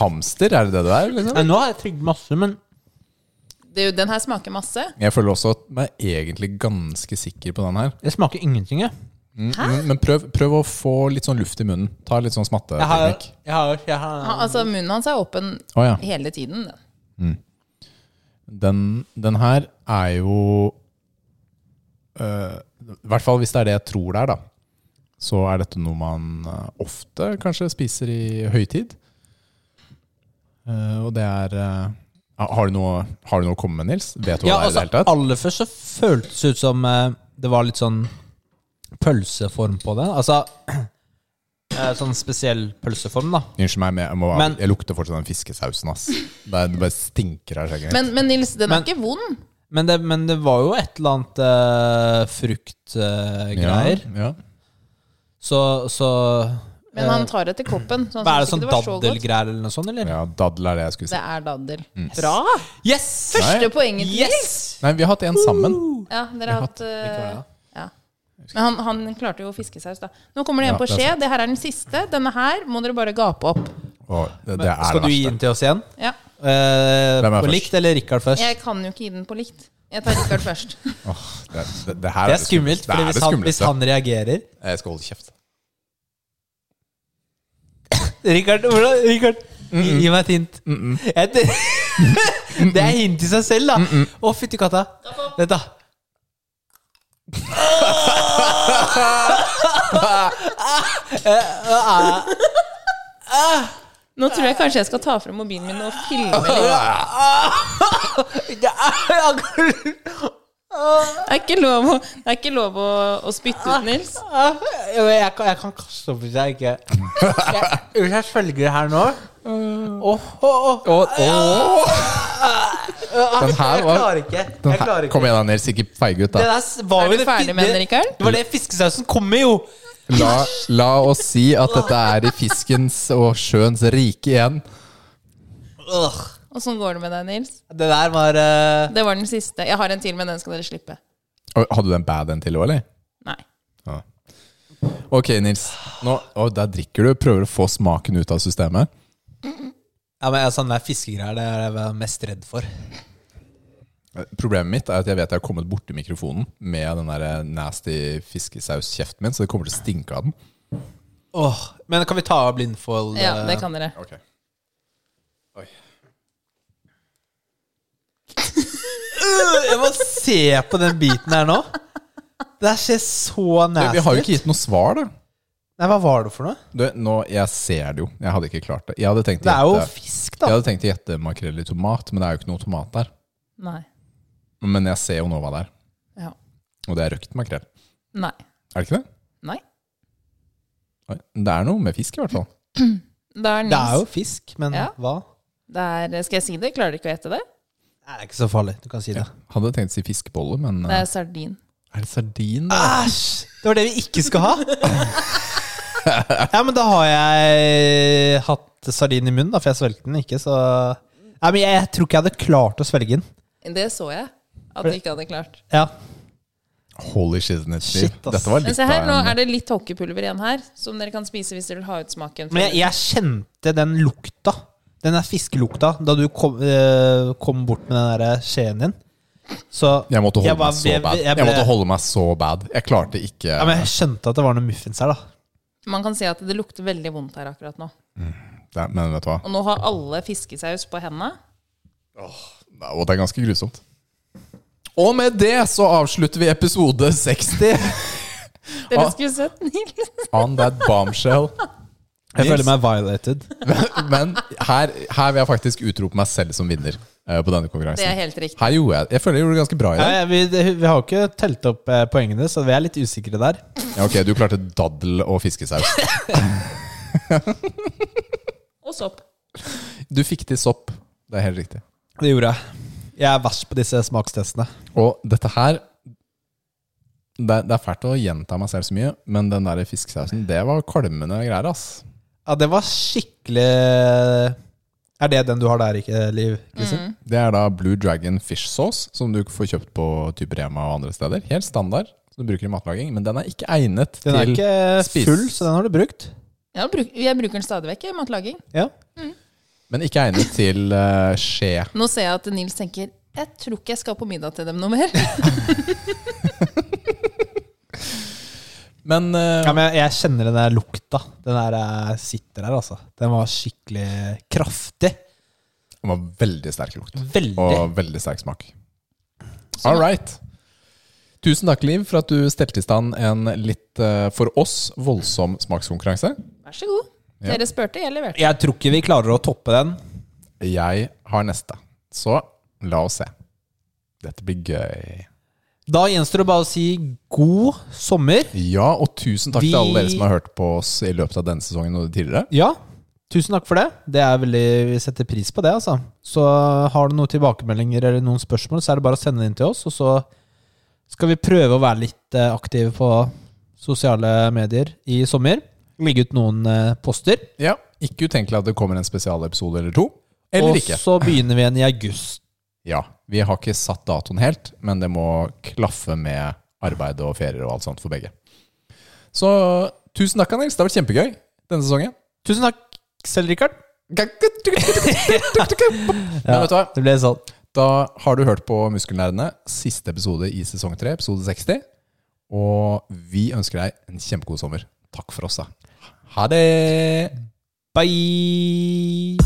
Hamster, er det det du er? Liksom? Nei, Nå har jeg tygd masse, men det, er jo- Den her smaker masse. Jeg føler også at jeg er egentlig ganske sikker på den her. jeg smaker ingenting. Jeg, Mm, Men, men prøv, prøv å få litt sånn luft i munnen. Ta litt sånn jeg har, smatteteknikk. jeg har, jeg har Han, altså, munnen hans er åpen Å ja. hele tiden. den. Den, den her er jo øh, I hvert fall hvis det er det jeg tror det er, da. Så er dette noe man øh, ofte kanskje spiser i høytid. Eh, og det er eh, har, du noe, har du noe å komme med, Nils? Vet du hva det er i det hele Ja, altså, tatt? aller først så føltes det ut som eh, det var litt sånn pølseform på det. Altså [CLEARS THROAT] eh, sånn spesiell pølseform, da. Unnskyld meg, men jeg, må, Men- jeg lukter fortsatt den fiskesausen, ass. Det, er, det bare stinker av skjegget mitt. Men, men Nils, den er Men- ikke vond. Men det, men det var jo et eller annet eh, fruktgreier. Ja, ja. Så, så Men han tar etter koppen. Så han Hva er det synes sånn Altså, ikke det var så godt. daddelgreier eller noe sånt, eller? ja, daddel er det jeg skulle si. Det er daddel. Bra! Yes! Første Nei. poenget til Nils. Mm. Yes! Nei, vi har hatt en sammen. Ja, dere har hatt Ikke bra, eh, ja. Men han, han klarte jo fiskesaus, da. Nå kommer det en Ja, på det er skje. Det her er den siste. Denne her må dere bare gape opp. Å, det, det er Skal det du gi verste. den til oss igjen? Ja. Eh, Hvem er på først? likt eller Richard først? Jeg kan jo ikke gi den på likt. Jeg tar Rikard først. [LAUGHS] Åh, det, det, det her Det er skummelt, Det fordi er hvis det han, hvis skumleste. han reagerer Jeg skal holde kjeft. Richard, hvordan, Richard gi, gi meg et hint. Jeg t- [LAUGHS] det er hint i seg selv, da. Å, fytti katta. Vent, da. Nå tror jeg kanskje jeg skal ta frem mobilen min og filme. litt. Det er akkurat- Det er ikke lov å, det er ikke lov å, å spytte ut, Nils. Jeg kan, jeg kan kaste opp hvis jeg ikke jeg, Hvis jeg svelger det her nå Åh, åh, åh. Den her Jeg var klarer ikke. den Jeg klarer her, ikke. Kom igjen, da, Nils. Ikke feig ut, Det da. der s- var Er jo du det fi- ferdig med den, det- Rikard? Det var det fiskesausen kommer jo! La, la oss si at dette er i fiskens og sjøens rike igjen. Ugh. Åssen går det med deg, Nils? Det der var eh, Det var den siste. Jeg har en til, men den skal dere slippe. Oi, Hadde du en bad en til òg, eller? Nei. Ok, Nils. Nå, å, der drikker du. Prøver å få smaken ut av systemet. ja, men altså, Sånne der fiskegreier det er det jeg var mest redd for. Problemet mitt er at jeg vet jeg har kommet borti mikrofonen med den der eh, nasty fiskesauskjeften min, så det kommer til å stinke av den. Åh, Men kan vi ta av blindfold? Ja, eh, det kan dere. Ok. Oi. Jeg må se på den biten her nå. Det her ser så Du, nasty vi har jo ut. ikke gitt noe svar, da. Nei, hva var det for noe? Du, nå, jeg ser det jo. Jeg hadde ikke klart det. Jeg hadde tenkt å Det er jo gjette- fisk, Jeg da. hadde tenkt å gjette makrell i tomat, men det er jo ikke noe tomat der. Nei. Men jeg ser jo nå hva det er, Ja. og det er røkt makrell. Nei. Er det ikke det? Nei. Oi, Det er noe med fisk, i hvert fall. Det er Det er jo Nils. fisk, men Ja. hva? Det er, skal jeg si det? Klarer du ikke å gjette det? Nei, det er ikke så farlig. Du kan si det. Hadde tenkt å si fiskebolle, men Det eh, er sardin. er det sardin? da? Æsj! Det var det vi ikke skal ha. [LAUGHS] Ja, men da har jeg hatt sardin i munnen, da, for jeg svelgte den ikke, så Nei, men jeg tror ikke jeg hadde klart å svelge den. Det så jeg at de ikke hadde klart. Ja. Ah, Holy shit, isn't it, Steve? Shit, ass. Dette var Men litt se her, nå av er en det litt hockeypulver igjen her, som dere kan spise hvis dere vil ha ut smaken. Men jeg, jeg kjente den lukta. Den der fiskelukta da du kom, eh, kom bort med den der skjeen din. Så jeg måtte, holde jeg var- meg så jeg- bad. jeg Jeg, ble- måtte holde meg så bad. Jeg klarte ikke ja, men jeg skjønte at det var noe muffins her, da. Man kan si at det lukter veldig vondt her akkurat nå. det, men vet du hva? Og nå har alle fiskesaus på hendene. Nei, Og det er ganske grusomt. Og med det så avslutter vi episode 60 [LAUGHS] Dere Ah. skulle sett Nils. on that bombshell. Jeg Nils? føler meg violated. Men her, her vil jeg faktisk utrope meg selv som vinner eh, på denne konkurransen. Det er helt riktig. Her gjorde jeg Jeg føler jeg gjorde det ganske bra i Ja, dag. ja, vi, det- vi har jo ikke telt opp eh, poengene, så vi er litt usikre der. Ja, ok, du klarte daddel og fiskesaus. Og sopp. Du fikk til sopp. Det er helt riktig. Det gjorde jeg. Jeg er verst på disse smakstestene. Og dette her det, er- det er fælt å gjenta meg selv så mye, men den der fiskesausen, det var kvalmende greier, ass. Ja, det var skikkelig Er det den du har der, ikke, Liv? Kristin? Det er da Blue Dragon Fish Sauce, som du får kjøpt på type Rema og andre steder. Helt standard, som du bruker i matlaging, men den er ikke egnet Den er til ikke spis. full, så den har du brukt. Ja, bruk, jeg bruker den stadig vekk i matlaging. Ja. Men ikke egnet til eh, skje. Nå ser jeg at Nils tenker jeg tror ikke jeg skal på middag til dem noe mer. [LAUGHS] Men eh, Ja, men jeg, jeg kjenner den der lukta. Den der eh, sitter der, altså. Den var skikkelig kraftig. den var veldig sterk lukt. Veldig. Og veldig sterk smak. All right. Tusen takk, Liv, for at du stelte i stand en litt, eh, for oss, voldsom smakskonkurranse. Vær så god. Dere spurte, jeg leverte. Jeg tror ikke vi klarer å toppe den. Jeg har neste. Så la oss se. Dette blir gøy. Da gjenstår det bare å si god sommer. Ja, og tusen takk Vi- til alle dere som har hørt på oss i løpet av denne sesongen og tidligere. Ja, tusen takk for det. Det er veldig, Vi setter pris på det. altså. Så har du noen tilbakemeldinger eller noen spørsmål, så er det bare å sende det inn til oss. Og så skal vi prøve å være litt eh, aktive på sosiale medier i sommer. Legge ut noen eh, poster. Ja, Ikke utenkelig at det kommer en spesialepisode eller to. Eller og ikke. så begynner vi igjen i august. Ja, Vi har ikke satt datoen helt, men det må klaffe med arbeid og ferier og alt sånt for begge. Så tusen takk, Nils. Det har vært kjempegøy denne sesongen. Tusen takk selv, Rikard. Men vet du hva? Det ble sånn. Da har du hørt på Muskelnerdene, siste episode i sesong 3, episode 60. Og vi ønsker deg en kjempegod sommer. Takk for oss, da. Ha det! Bye!